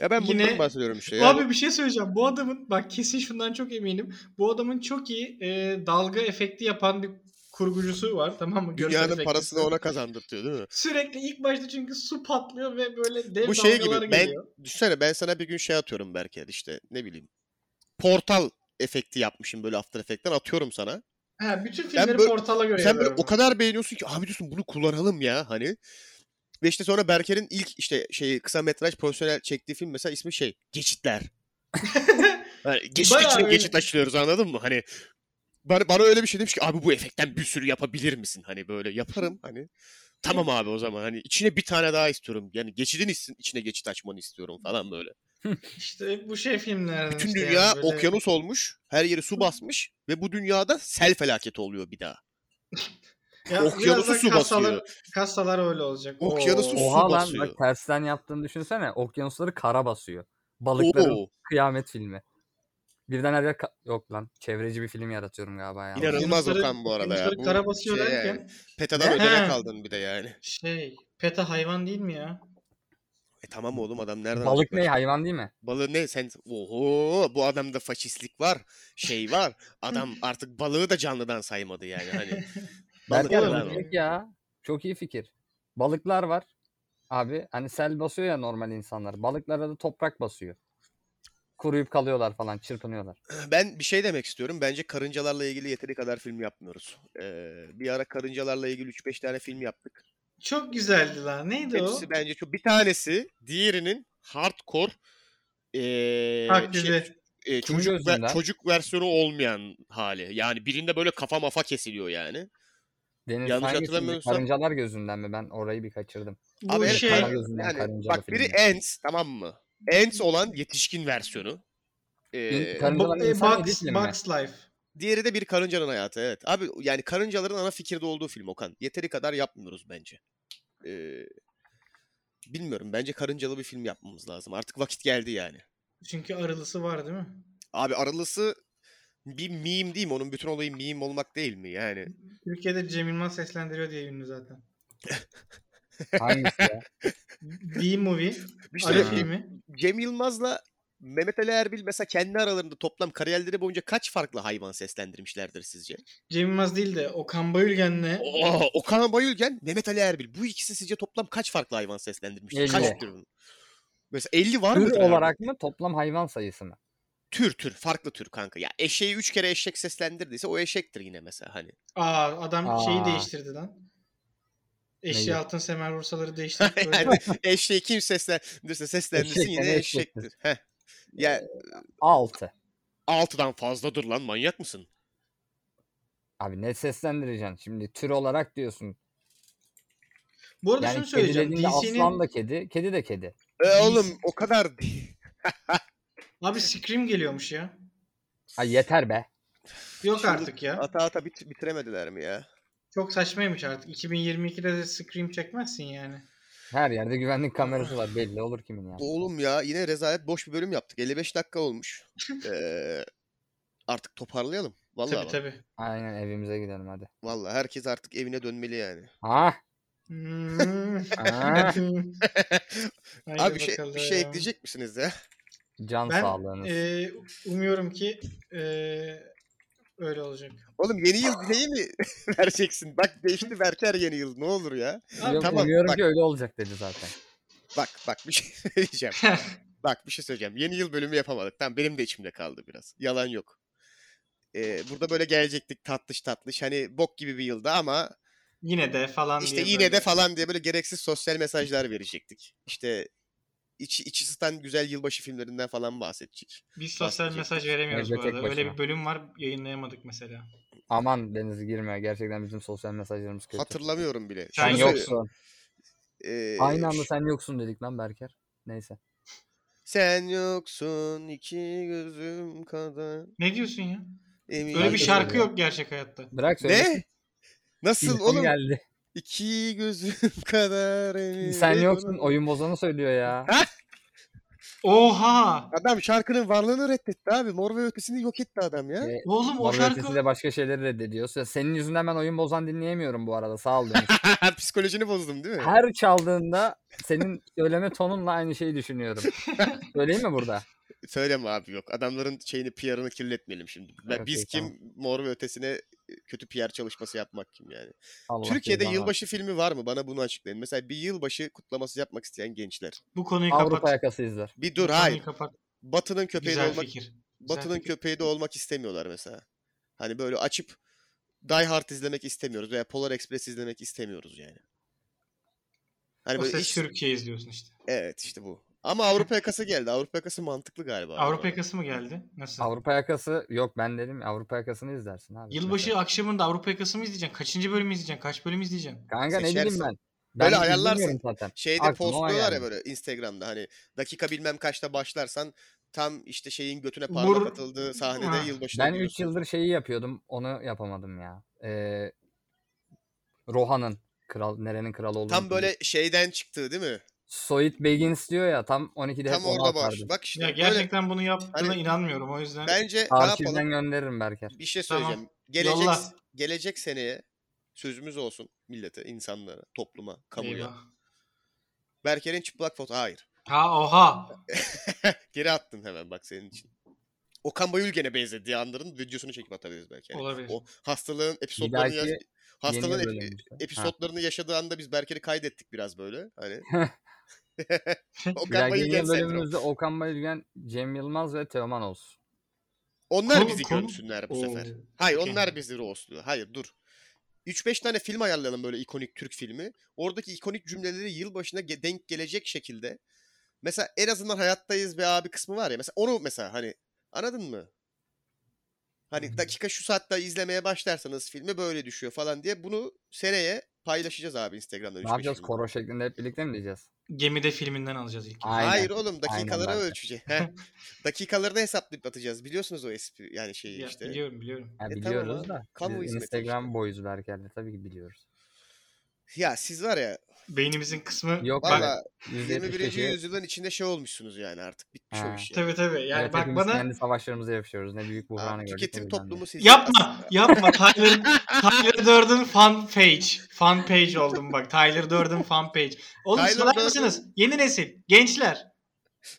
Speaker 1: Ya ben
Speaker 3: Yine-
Speaker 1: bundan bahsediyorum işte. Yani
Speaker 3: Abi bir şey söyleyeceğim. Bu adamın bak kesin şundan çok eminim. Bu adamın çok iyi e, dalga efekti yapan bir kurgucusu var tamam mı? Görsel
Speaker 1: dünyanın
Speaker 3: efektçisi.
Speaker 1: parasını ona kazandırtıyor değil mi?
Speaker 3: Sürekli ilk başta çünkü su patlıyor ve böyle dev
Speaker 1: Bu şey
Speaker 3: dalgalar
Speaker 1: gibi, ben-
Speaker 3: geliyor.
Speaker 1: Düşünsene ben sana bir gün şey atıyorum Berker işte ne bileyim. Portal efekti yapmışım böyle After Effects'ten atıyorum sana.
Speaker 3: Ha, bütün filmleri
Speaker 1: böyle-
Speaker 3: portala göre
Speaker 1: Sen böyle
Speaker 3: yapıyorum
Speaker 1: o
Speaker 3: ben.
Speaker 1: kadar beğeniyorsun ki abi diyorsun bunu kullanalım ya hani. Ve işte sonra Berker'in ilk işte şey kısa metraj profesyonel çektiği film mesela ismi şey Geçitler. Yani geçit
Speaker 3: Bayağı
Speaker 1: için
Speaker 3: öyle.
Speaker 1: geçit açılıyoruz anladın mı? Hani bana, bana öyle bir şey demiş ki abi bu efektten bir sürü yapabilir misin? Hani böyle yaparım hani. Tamam abi o zaman hani içine bir tane daha istiyorum. Yani geçidin içsin- içine geçit açmanı istiyorum falan böyle.
Speaker 3: İşte bu şey filmlerden
Speaker 1: Bütün
Speaker 3: işte yani
Speaker 1: dünya
Speaker 3: böyle-
Speaker 1: okyanus olmuş. Her yeri su basmış ve bu dünyada sel felaketi oluyor bir daha.
Speaker 3: Ya
Speaker 1: okyanusu
Speaker 3: birazdan
Speaker 1: su
Speaker 3: kasalar-
Speaker 1: basıyor.
Speaker 3: Kasalar öyle olacak.
Speaker 1: Okyanusu
Speaker 3: Oo.
Speaker 1: su
Speaker 2: Oha lan
Speaker 1: basıyor.
Speaker 2: bak tersten yaptığını düşünsene. Okyanusları kara basıyor. Balıkların
Speaker 1: Oo,
Speaker 2: kıyamet filmi. Birden her yer ka- yok lan. Çevreci bir film yaratıyorum galiba ya.
Speaker 1: İnanın- İnanılmaz Okan bu arada ya.
Speaker 3: okyanusları
Speaker 1: Bu
Speaker 3: Kara basıyor
Speaker 1: şey
Speaker 3: derken
Speaker 1: yani. petadan
Speaker 2: Ne?
Speaker 1: ödene
Speaker 3: He.
Speaker 1: kaldın bir de yani.
Speaker 3: şey PETA hayvan değil mi ya?
Speaker 1: E tamam oğlum adam nereden alacak
Speaker 2: Balık ne hayvan değil mi?
Speaker 1: Balığı ne sen oho bu adamda faşistlik var şey var adam artık balığı da canlıdan saymadı yani hani balık
Speaker 2: Berker
Speaker 3: olur
Speaker 1: lan
Speaker 3: mu?
Speaker 2: bu
Speaker 1: o.
Speaker 2: direkt ya. Çok iyi fikir. Balıklar var. Abi hani sel basıyor ya normal insanlar. Balıklara da toprak basıyor. Kuruyup kalıyorlar falan çırpınıyorlar.
Speaker 1: ben bir şey demek istiyorum bence karıncalarla ilgili yeteri kadar film yapmıyoruz Ee, bir ara karıncalarla ilgili 3-5 tane film yaptık
Speaker 3: Çok güzeldi lan. Neydi o?
Speaker 1: hepsi bence çok bir tanesi diğerinin hardcore ee,
Speaker 3: Taklidi.
Speaker 1: şey, e,
Speaker 2: Kimin
Speaker 1: çocuk ve-
Speaker 2: gözünden?
Speaker 1: çocuk versiyonu olmayan hali yani birinde böyle kafa mafa kesiliyor yani
Speaker 2: Deniz
Speaker 1: Yanlış
Speaker 2: hangisiydi?
Speaker 1: hatırlamıyorsam-
Speaker 2: Karıncalar gözünden mi? Ben orayı bir kaçırdım.
Speaker 3: Bu
Speaker 1: Abi evet,
Speaker 3: şey
Speaker 1: karar-
Speaker 2: Karıncalar gözünden
Speaker 1: Yani
Speaker 2: karıncalı
Speaker 1: bak biri
Speaker 2: filmi.
Speaker 1: Ants tamam mı? Ants olan yetişkin versiyonu. Ee,
Speaker 2: karınca-
Speaker 3: bu-
Speaker 2: Karıncalar
Speaker 3: e,
Speaker 2: insan
Speaker 3: Bugs,
Speaker 2: yedi mi?
Speaker 3: Bugs Life.
Speaker 1: diğeri de bir karıncanın hayatı evet. Abi yani karıncaların ana fikirde olduğu film Okan. Yeteri kadar yapmıyoruz bence. Ee, Bilmiyorum. Bence karıncalı bir film yapmamız lazım. Artık vakit geldi yani.
Speaker 3: Çünkü arılısı var değil mi?
Speaker 1: Abi Aralısı bir meme değil mi? Onun bütün olayı meme olmak değil mi? Yani
Speaker 3: Türkiye'de Cem Yılmaz seslendiriyor diye ünlü zaten.
Speaker 2: Hangisi ya?
Speaker 3: B-Movie.
Speaker 1: İşte
Speaker 3: Arı
Speaker 4: Ha.
Speaker 3: filmi.
Speaker 1: Cem Yılmaz'la Mehmet Ali Erbil mesela kendi aralarında toplam kariyerleri boyunca kaç farklı hayvan seslendirmişlerdir sizce?
Speaker 3: Cem Yılmaz değil de Okan Bayülgen'le
Speaker 1: Aa, Okan Bayülgen, Mehmet Ali Erbil. Bu ikisi sizce toplam kaç farklı hayvan seslendirmiştir?
Speaker 2: Elli.
Speaker 1: Kaç tür? Mesela 50 var
Speaker 2: Tür
Speaker 1: mıdır? abi?
Speaker 2: olarak mı toplam hayvan sayısı mı?
Speaker 1: Tür tür farklı tür kanka. Ya eşeği 3 kere eşek seslendirdiyse o eşektir yine mesela hani.
Speaker 3: Aa adam şeyi
Speaker 2: Aa.
Speaker 3: değiştirdi lan. Eşi
Speaker 2: Neyi?
Speaker 3: altın semer vursaları değiştirdi. böyle.
Speaker 1: yani eşeği kim seslendirirse seslendirsin
Speaker 2: Eşek
Speaker 1: yine
Speaker 2: yani eşektir.
Speaker 1: eşektir. Heh. Ya
Speaker 2: 6.
Speaker 1: 6'dan fazladır lan manyak mısın?
Speaker 2: Abi ne seslendireceksin? Şimdi tür olarak diyorsun.
Speaker 3: Bu arada
Speaker 2: Yani
Speaker 3: şunu
Speaker 2: kedi
Speaker 3: söyleyeceğim.
Speaker 2: dediğinde aslan
Speaker 3: DC'nin
Speaker 2: da kedi, kedi de kedi.
Speaker 1: E
Speaker 3: Biz-
Speaker 1: oğlum o kadar değil.
Speaker 3: abi Scream geliyormuş ya.
Speaker 2: Ay yeter be.
Speaker 3: Yok
Speaker 1: Şimdi
Speaker 3: artık ya.
Speaker 1: Ata ata bit- bitiremediler mi ya?
Speaker 3: Çok saçmaymış artık. 2022'de de Scream çekmezsin yani.
Speaker 2: Her yerde güvenlik kamerası var belli olur kimin ya.
Speaker 1: Oğlum ya yine rezalet boş bir bölüm yaptık. 55 dakika olmuş. Ee, artık toparlayalım. Vallahi
Speaker 3: Tabii
Speaker 1: bak,
Speaker 3: tabii.
Speaker 2: Aynen evimize gidelim hadi.
Speaker 1: vallahi herkes artık evine dönmeli yani.
Speaker 2: Ah,
Speaker 3: Hmm.
Speaker 2: ah.
Speaker 3: Haydi
Speaker 1: Abi bir şey bir şey
Speaker 3: bakalım.
Speaker 1: ekleyecek misiniz ya?
Speaker 2: Can
Speaker 3: Ben
Speaker 2: sağlığınız.
Speaker 3: e, umuyorum ki e, öyle olacak.
Speaker 1: Oğlum yeni yıl dileği mi vereceksin? Bak değişti Berker yeni yıl. Ne olur ya?
Speaker 3: Abi,
Speaker 2: Yok,
Speaker 1: tamam,
Speaker 2: umuyorum
Speaker 1: bak.
Speaker 2: ki öyle olacak dedi zaten.
Speaker 1: Bak bak bir şey söyleyeceğim. Bak bir şey söyleyeceğim. Yeni yıl bölümü yapamadık. Tamam benim de içimde kaldı biraz. Yalan yok. Ee, burada böyle gelecektik tatlış tatlış. Hani bok gibi bir yılda ama
Speaker 3: Yine de falan
Speaker 1: İşte
Speaker 3: diye
Speaker 1: yine
Speaker 3: böyle.
Speaker 1: de falan diye böyle gereksiz sosyal mesajlar verecektik. İşte içi, içi satan güzel yılbaşı filmlerinden falan bahsedecek.
Speaker 3: Biz sosyal
Speaker 1: bahsedecektik.
Speaker 3: mesaj veremiyoruz bu
Speaker 2: Evde tek
Speaker 3: arada. Öyle
Speaker 2: başına.
Speaker 3: bir bölüm var yayınlayamadık mesela.
Speaker 2: Aman denize girme gerçekten bizim sosyal mesajlarımız kötü.
Speaker 1: Hatırlamıyorum bile.
Speaker 3: Sen
Speaker 2: sen
Speaker 1: Şunu
Speaker 3: yoksun.
Speaker 1: söyle-
Speaker 2: yoksun.
Speaker 1: Ee,
Speaker 2: Aynı anda
Speaker 1: ş-
Speaker 2: sen yoksun dedik lan Berker. Neyse.
Speaker 1: Sen yoksun iki gözüm kadar.
Speaker 3: Ne diyorsun ya?
Speaker 1: Emin
Speaker 3: Böyle bir
Speaker 2: Herkes
Speaker 3: şarkı
Speaker 2: öyle ya.
Speaker 3: yok gerçek hayatta.
Speaker 2: Bırak söyle.
Speaker 1: Ne? Nasıl
Speaker 2: Telefon
Speaker 1: oğlum?
Speaker 2: geldi.
Speaker 1: İki gözüm kadar emin.
Speaker 2: Sen
Speaker 1: değil
Speaker 2: yoksun.
Speaker 1: oğlum.
Speaker 2: Oyun bozanı söylüyor ya.
Speaker 3: Oha!
Speaker 1: Adam şarkının varlığını reddetti abi. Mor ve ötesini yok etti adam ya.
Speaker 2: Ee,
Speaker 3: Oğlum o
Speaker 2: Mor ve Ötesi
Speaker 3: şarkı
Speaker 2: de başka şeyleri reddediyor. Se- Senin yüzünden ben oyun bozan dinleyemiyorum bu arada. Sağ ol Deniz.
Speaker 1: Psikolojini bozdum değil mi?
Speaker 2: Her çaldığında senin söyleme tonunla aynı şeyi düşünüyorum. Söyleyeyim mi burada?
Speaker 1: Söyleme abi yok. Adamların şeyini PR'ını kirletmeyelim şimdi. Ben-
Speaker 2: Evet,
Speaker 1: Biz
Speaker 2: iyi,
Speaker 1: kim
Speaker 2: tamam.
Speaker 1: mor ve ötesine kötü PR çalışması yapmak kim yani.
Speaker 2: Allah
Speaker 1: Türkiye'de
Speaker 2: cezanı versin.
Speaker 1: yılbaşı filmi var mı? Bana bunu açıklayın. Mesela bir yılbaşı kutlaması yapmak isteyen gençler.
Speaker 3: bu konuyu
Speaker 2: Avrupa
Speaker 3: kapat.
Speaker 2: yakası izler.
Speaker 1: Bir
Speaker 3: Bu
Speaker 1: dur
Speaker 3: konuyu
Speaker 1: hayır.
Speaker 3: kapat.
Speaker 1: Batının köpeği de
Speaker 3: Güzel
Speaker 1: olmak
Speaker 3: fikir. Güzel
Speaker 1: Batının
Speaker 3: fikir.
Speaker 1: köpeği de olmak istemiyorlar mesela. Hani böyle açıp Die Hard izlemek istemiyoruz veya Polar Express izlemek istemiyoruz yani. Hani
Speaker 3: O
Speaker 1: böyle
Speaker 3: ses
Speaker 1: hiç-
Speaker 3: Türkiye izliyorsun işte.
Speaker 1: evet işte bu. Ama Avrupa yakası geldi. Avrupa yakası mantıklı galiba.
Speaker 3: Avrupa yakası mı geldi? Nasıl?
Speaker 2: Avrupa yakası yok ben dedim ya, Avrupa yakasını izlersin abi.
Speaker 3: Yılbaşı akşamında Avrupa yakası mı izleyeceksin? Kaçıncı bölümü izleyeceksin? Kaç bölüm izleyeceksin?
Speaker 2: Kanka ne bileyim
Speaker 1: Seçersin.
Speaker 2: ben. Ben
Speaker 1: Böyle
Speaker 2: de
Speaker 1: ayarlarsın.
Speaker 2: izlemiyorum zaten.
Speaker 1: Şeyde
Speaker 2: Aklıma o
Speaker 1: postluyorlar ya
Speaker 2: geldi.
Speaker 1: böyle Instagram'da hani dakika bilmem kaçta başlarsan tam işte şeyin götüne
Speaker 3: Vur-
Speaker 1: parmak atıldığı sahnede
Speaker 3: Ha.
Speaker 1: yılbaşında
Speaker 2: Ben 3
Speaker 1: görüyorsun.
Speaker 2: yıldır şeyi yapıyordum. Onu yapamadım ya. Ee, Rohan'ın kral nerenin kralı olduğunu.
Speaker 1: Tam böyle şeyden çıktı değil mi?
Speaker 2: Soyit Begins diyor ya tam 12'de
Speaker 1: tam
Speaker 2: hep onu
Speaker 1: orada var.
Speaker 2: atardım.
Speaker 1: Bak işte
Speaker 3: Ya
Speaker 1: böyle
Speaker 3: gerçekten bunu yaptığına
Speaker 1: Hani-
Speaker 3: inanmıyorum o yüzden.
Speaker 1: bence ne yapalım?
Speaker 2: Arşivden gönderirim Berker.
Speaker 1: Bir şey
Speaker 3: Tamam.
Speaker 1: söyleyeceğim. Gelecek
Speaker 3: Yolla.
Speaker 1: gelecek seneye sözümüz olsun millete, insanlara, topluma, kamuya.
Speaker 3: Eyvah.
Speaker 1: Berker'in çıplak foto hayır.
Speaker 3: Ha oha.
Speaker 1: Geri attın hemen bak senin için. Okan Bayülgen'e benzediği anların videosunu çekip atabiliriz belki. Yani
Speaker 3: Olabilir.
Speaker 1: O hastalığın episodlarını
Speaker 2: dahaki
Speaker 1: yaş- hastalığın
Speaker 2: Yeni
Speaker 1: epi-
Speaker 2: bölünmüşler. Ha.
Speaker 1: episodlarını yaşadığı anda biz Berker'i kaydettik biraz böyle. Hani.
Speaker 2: Bir
Speaker 1: Okan
Speaker 2: dahaki
Speaker 1: Bayülgen
Speaker 2: yeni
Speaker 1: sendromu.
Speaker 2: bölümümüzde Okan Bayülgen, Cem Yılmaz ve Teoman olsun.
Speaker 1: Onlar
Speaker 3: Konu-
Speaker 1: bizi
Speaker 3: konu-
Speaker 1: gömsünler bu
Speaker 3: Oo.
Speaker 1: sefer. Hayır
Speaker 3: Okey.
Speaker 1: onlar bizi roastluyor. Hayır dur. 3-5 tane film ayarlayalım böyle ikonik Türk filmi. Oradaki ikonik cümleleri yılbaşına ge- denk gelecek şekilde. Mesela en azından hayattayız be abi kısmı var ya. Mesela onu mesela hani anladın mı? Hani dakika şu saatte izlemeye başlarsanız filmi böyle düşüyor falan diye bunu seneye paylaşacağız abi Instagram'da.
Speaker 2: Ne yapacağız? Koro şeklinde hep birlikte mi diyeceğiz?
Speaker 3: Gemide filminden alacağız ilk.
Speaker 2: Aynen.
Speaker 1: Hayır oğlum dakikalara
Speaker 2: Berker.
Speaker 1: ölçecek. Heh. dakikalarını hesaplayıp atacağız. Biliyorsunuz o espri yani şeyi
Speaker 3: Ya,
Speaker 1: işte.
Speaker 3: Biliyorum biliyorum.
Speaker 2: Ya
Speaker 1: E tamam
Speaker 2: biliyoruz
Speaker 1: abi,
Speaker 2: da.
Speaker 1: kamu
Speaker 2: biz
Speaker 1: hizmeti
Speaker 2: Instagram boyuz Berker'le tabii ki biliyoruz.
Speaker 1: Ya siz var ya
Speaker 3: Beynimizin kısmı
Speaker 2: Yok
Speaker 3: Bak,
Speaker 2: abi.
Speaker 1: valla 21. yüzyılın içinde şey olmuşsunuz yani artık bitmiş
Speaker 2: Ha.
Speaker 1: o iş. yani.
Speaker 3: Tabii tabii. Yani
Speaker 2: evet,
Speaker 3: bak
Speaker 2: hepimiz
Speaker 3: bana
Speaker 2: kendi savaşlarımıza yapışıyoruz. Ne büyük
Speaker 1: Aa,
Speaker 2: buhranı gördük. o
Speaker 1: tüketim
Speaker 2: yüzden de.
Speaker 1: toplumu sizi
Speaker 3: yapma
Speaker 1: aslında-
Speaker 3: yapma Tyler Tyler Durden fan page. Fan page oldum bak. Tyler Durden fan page. Oğlum
Speaker 1: Tyler
Speaker 3: sorar
Speaker 1: Durden-
Speaker 3: mısınız? Yeni nesil, gençler.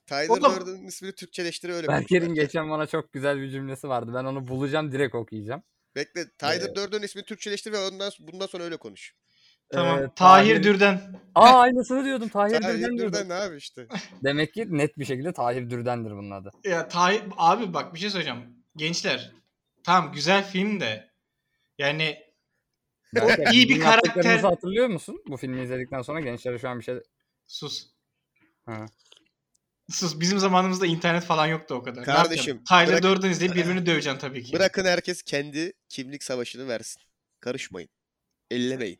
Speaker 1: Tyler
Speaker 3: Oğlum.
Speaker 1: Durden'ın ismini Türkçeleştir öyle
Speaker 2: Berker'in
Speaker 1: konuş.
Speaker 2: geçen bana çok güzel bir cümlesi vardı. Ben onu bulacağım direkt okuyacağım.
Speaker 1: Bekle Tyler Durden'ın ismini Türkçeleştir ve ondan bundan sonra öyle konuş.
Speaker 3: Tamam.
Speaker 2: Ee,
Speaker 3: Tahir Dürden.
Speaker 2: Aa aynısını diyordum. Tahir
Speaker 1: Tyler
Speaker 2: Dürden diyordum.
Speaker 1: Durden ne abi işte.
Speaker 2: Demek ki net bir şekilde Tahir Dürden'dir bunun adı.
Speaker 3: Ya Tahir abi bak bir şey söyleyeceğim. Gençler. Tamam güzel film de. Yani
Speaker 2: Berker,
Speaker 3: iyi bir
Speaker 2: bizim
Speaker 3: karakter-
Speaker 2: yaptıklarımızı hatırlıyor musun? Bu filmi izledikten sonra gençlere şu an bir şey...
Speaker 3: sus.
Speaker 2: Ha.
Speaker 3: Sus bizim zamanımızda internet falan yoktu o kadar. Ne
Speaker 1: Kardeşim,
Speaker 3: yapacaksın? Tyler
Speaker 1: bırak- Ee,
Speaker 3: Durden izleyip birbirini döveceksin tabii ki.
Speaker 1: Bırakın herkes kendi kimlik savaşını versin. Karışmayın. Ellemeyin.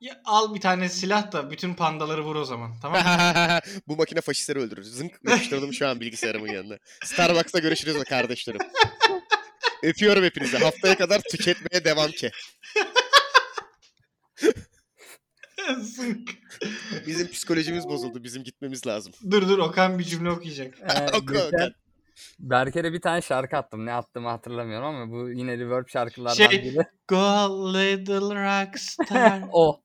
Speaker 3: Ya, al bir tane silah da bütün pandaları vur o zaman. Tamam mı?
Speaker 1: Bu makine faşistleri öldürür. Zınk yapıştırdım şu an bilgisayarımın yanına. Starbucks'ta görüşürüz kardeşlerim. Öpüyorum hepinizi. Haftaya kadar tüketmeye devam ki.
Speaker 3: Zınk.
Speaker 1: Bizim psikolojimiz bozuldu. Bizim gitmemiz lazım.
Speaker 3: dur dur Okan bir cümle okuyacak.
Speaker 2: Ee,
Speaker 1: Oku, oku.
Speaker 2: geçen Berker'e bir tane şarkı attım. Ne attığımı hatırlamıyorum ama bu yine reverb şarkılardan
Speaker 3: Şey-
Speaker 2: biri.
Speaker 3: Go little rockstar.
Speaker 2: O.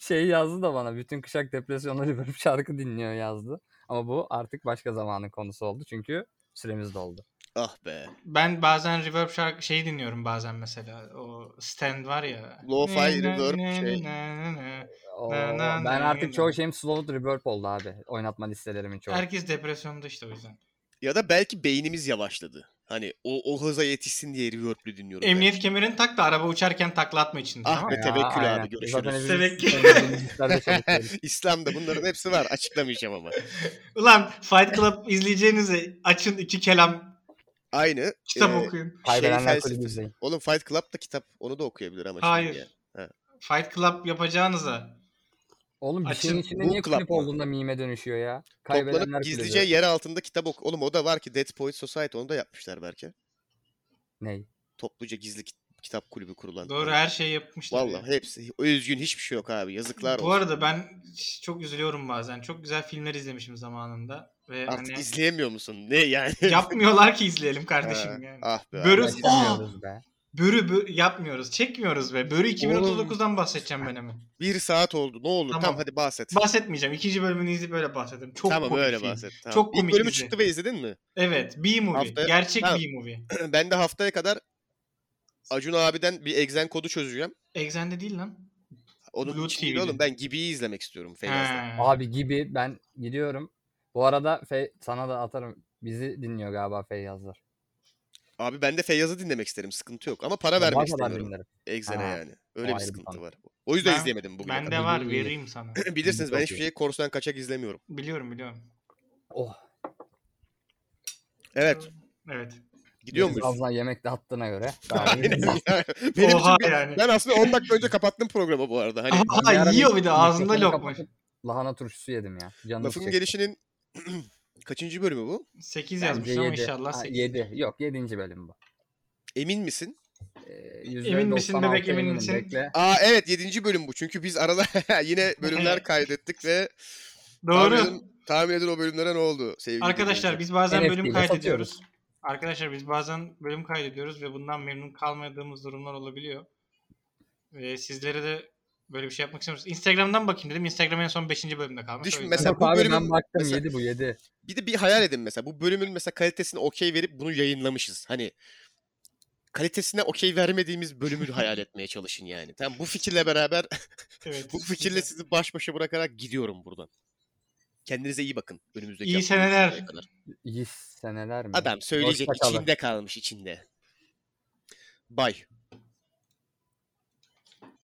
Speaker 2: Şey yazdı da bana. Bütün kuşak depresyonda reverb şarkı dinliyor yazdı. Ama bu artık başka zamanın konusu oldu. Çünkü süremiz doldu.
Speaker 1: Ah be.
Speaker 3: ben bazen reverb şarkı şey dinliyorum bazen mesela. O stand var ya.
Speaker 1: Lo-fi reverb şey.
Speaker 2: Oo,
Speaker 3: Na, na,
Speaker 2: ben
Speaker 3: na,
Speaker 2: artık
Speaker 3: na.
Speaker 2: çoğu şeyim slowed reverb oldu abi. Oynatma listelerimin çoğu.
Speaker 3: Herkes depresyonda işte o yüzden.
Speaker 1: Ya da belki beynimiz yavaşladı. Hani o, o hıza yetişsin diye reverb'lü dinliyorum.
Speaker 3: Emniyet kemerini tak da araba uçarken takla atma içinde.
Speaker 1: Ah
Speaker 3: tamam
Speaker 1: be
Speaker 2: Ya,
Speaker 3: mı?
Speaker 1: tevekkül abi,
Speaker 2: aynen.
Speaker 1: görüşürüz. Şey
Speaker 2: Zaten hepimiz
Speaker 3: Tevekkül.
Speaker 2: kendimiz işlerde çalışıyoruz.
Speaker 1: ben. İslam'da bunların hepsi var. Açıklamayacağım ama.
Speaker 3: Ulan Fight Club izleyeceğinize açın iki kelam
Speaker 1: Aynı.
Speaker 3: kitap
Speaker 1: e,
Speaker 3: okuyun.
Speaker 2: Kaybedenler
Speaker 1: felsefesi.
Speaker 2: kulübü izleyin. Oğlum
Speaker 1: Oğlum Fight Club da kitap. Onu da okuyabilir ama. şimdi ya.
Speaker 3: Hayır.
Speaker 1: Ha.
Speaker 3: Fight Club yapacağınıza
Speaker 2: Oğlum bir şeyin
Speaker 3: Açın,
Speaker 2: içinde
Speaker 1: book
Speaker 2: niye
Speaker 1: club
Speaker 2: kulüp
Speaker 1: mı?
Speaker 2: olduğunda mime dönüşüyor ya? Kaybedenler
Speaker 1: Toplanıp
Speaker 2: kulübü.
Speaker 1: gizlice yer altında kitap ok. Oğlum o da var ki Dead Poets Society onu da yapmışlar belki.
Speaker 2: Ney?
Speaker 1: Topluca gizli ki- kitap kulübü kurulan.
Speaker 3: doğru her şeyi yapmışlar.
Speaker 1: Vallahi hepsi. Özgün hiçbir şey yok abi. Yazıklar
Speaker 3: Bu
Speaker 1: olsun.
Speaker 3: arada ben çok üzülüyorum bazen. Çok güzel filmler izlemişim zamanında ve
Speaker 1: Artık Ee,
Speaker 3: hani
Speaker 1: izleyemiyor musun? Ne yani?
Speaker 3: yapmıyorlar ki izleyelim
Speaker 1: Ha,
Speaker 3: kardeşim yani.
Speaker 1: Ah be. abi.
Speaker 3: Börü-
Speaker 2: Belki bilmiyoruz be.
Speaker 3: Börü, börü yapmıyoruz. Çekmiyoruz be. Börü 2039'dan bahsedeceğim ben hemen.
Speaker 1: Bir saat oldu. Ne olur? Tamam,
Speaker 3: Tamam.
Speaker 1: hadi bahset.
Speaker 3: Bahsetmeyeceğim. İkinci bölümünü izleyip böyle bahsedelim. Çok
Speaker 1: tamam
Speaker 3: komik
Speaker 1: öyle
Speaker 3: film.
Speaker 1: bahset. Tamam.
Speaker 3: Çok
Speaker 1: İlk
Speaker 3: komik şey.
Speaker 1: bölümü
Speaker 3: dizi.
Speaker 1: çıktı ve izledin mi?
Speaker 3: Evet. B-movie.
Speaker 1: Haftaya-
Speaker 3: Gerçek
Speaker 1: Ha.
Speaker 3: B-movie.
Speaker 1: ben de haftaya kadar Acun abiden bir exen kodu çözeceğim.
Speaker 3: Exxen'de değil lan.
Speaker 1: Onun
Speaker 3: Blue
Speaker 1: için değil
Speaker 3: TV'de.
Speaker 1: oğlum ben Gibi'yi izlemek istiyorum Feyyaz'la.
Speaker 3: He.
Speaker 2: Abi gibi ben gidiyorum. Bu arada Fe- sana da atarım. Bizi dinliyor galiba Feyyazlar.
Speaker 1: Abi ben de Feyyaz'ı dinlemek isterim. Sıkıntı yok. Ama para
Speaker 2: Ben
Speaker 1: vermek
Speaker 2: bazen
Speaker 1: istemiyorum.
Speaker 2: dinlerim.
Speaker 1: Exen'e
Speaker 2: Ha,
Speaker 1: yani. Öyle
Speaker 2: ayrı
Speaker 1: bir
Speaker 2: bir
Speaker 1: sıkıntı
Speaker 2: konu.
Speaker 1: var. O yüzden
Speaker 3: Ben-
Speaker 1: izleyemedim bugüne
Speaker 3: Bende
Speaker 1: kadar.
Speaker 3: var.
Speaker 2: Bilmiyorum.
Speaker 3: Vereyim sana.
Speaker 1: Bilirsiniz ben
Speaker 2: Çok
Speaker 1: hiçbir
Speaker 2: iyi.
Speaker 1: şeyi korsan kaçak izlemiyorum.
Speaker 3: biliyorum biliyorum.
Speaker 2: Oh.
Speaker 1: Evet.
Speaker 3: Evet.
Speaker 1: Gidiyor
Speaker 2: biraz
Speaker 1: muyuz?
Speaker 2: Fazla yemek de attığına göre.
Speaker 1: Aynen.
Speaker 2: Daha-
Speaker 1: yani. Benim
Speaker 3: Oha
Speaker 1: için ben,
Speaker 3: yani.
Speaker 1: ben aslında 10 dakika önce kapattım programı bu arada. Hani
Speaker 3: Aha,
Speaker 2: Bir ara
Speaker 3: yiyor bir de ağzında
Speaker 2: mikrofonu
Speaker 3: lokma.
Speaker 2: kapatıp Lahana turşusu yedim ya. Canım
Speaker 1: lafın
Speaker 2: çekti.
Speaker 1: gelişinin kaçıncı bölümü bu?
Speaker 3: 8
Speaker 2: Bence
Speaker 3: yazmış ama
Speaker 2: yedi.
Speaker 3: inşallah
Speaker 2: Ha,
Speaker 3: 8.
Speaker 2: yedi. Yok 7. bölüm bu.
Speaker 1: Emin misin?
Speaker 2: Ee,
Speaker 3: Emin misin
Speaker 2: %96
Speaker 3: bebek, emin
Speaker 2: eminim.
Speaker 3: misin?
Speaker 2: Bekle.
Speaker 1: Aa evet 7. bölüm bu. Çünkü biz arada yine bölümler
Speaker 3: Evet.
Speaker 1: kaydettik ve
Speaker 3: Doğru.
Speaker 1: Tahmin edin, tahmin edin o bölümlere ne oldu sevgili
Speaker 3: Arkadaşlar
Speaker 1: dinleyiciler?
Speaker 3: biz bazen
Speaker 2: NFT
Speaker 3: bölüm
Speaker 2: ile
Speaker 3: kaydediyoruz.
Speaker 2: satıyoruz.
Speaker 3: Arkadaşlar biz bazen bölüm kaydediyoruz ve bundan memnun kalmadığımız durumlar olabiliyor. Ve sizlere de böyle bir şey yapmak istiyoruz. Instagram'dan bakayım dedim. Instagram en son 5. bölümde kalmış.
Speaker 1: Düşün
Speaker 3: O yüzden-
Speaker 1: mesela-
Speaker 2: Yok
Speaker 1: bu
Speaker 2: abi ben
Speaker 1: bölümün-
Speaker 2: baktım
Speaker 1: mesela-
Speaker 2: 7 bu 7.
Speaker 1: Bir de bir hayal edin mesela bu bölümün mesela kalitesine okey verip bunu yayınlamışız. Hani kalitesine okey vermediğimiz bölümü hayal etmeye çalışın yani. Tamam bu fikirle beraber
Speaker 3: Evet.
Speaker 1: bu fikirle sizi baş başa bırakarak gidiyorum buradan. Kendinize iyi bakın önümüzdeki
Speaker 3: İyi
Speaker 1: haftanın
Speaker 3: seneler.
Speaker 1: sonuna kadar.
Speaker 2: İyi seneler mi?
Speaker 1: Adam söyleyecek
Speaker 2: Hoşça kalın.
Speaker 1: içinde kalmış içinde. Bay.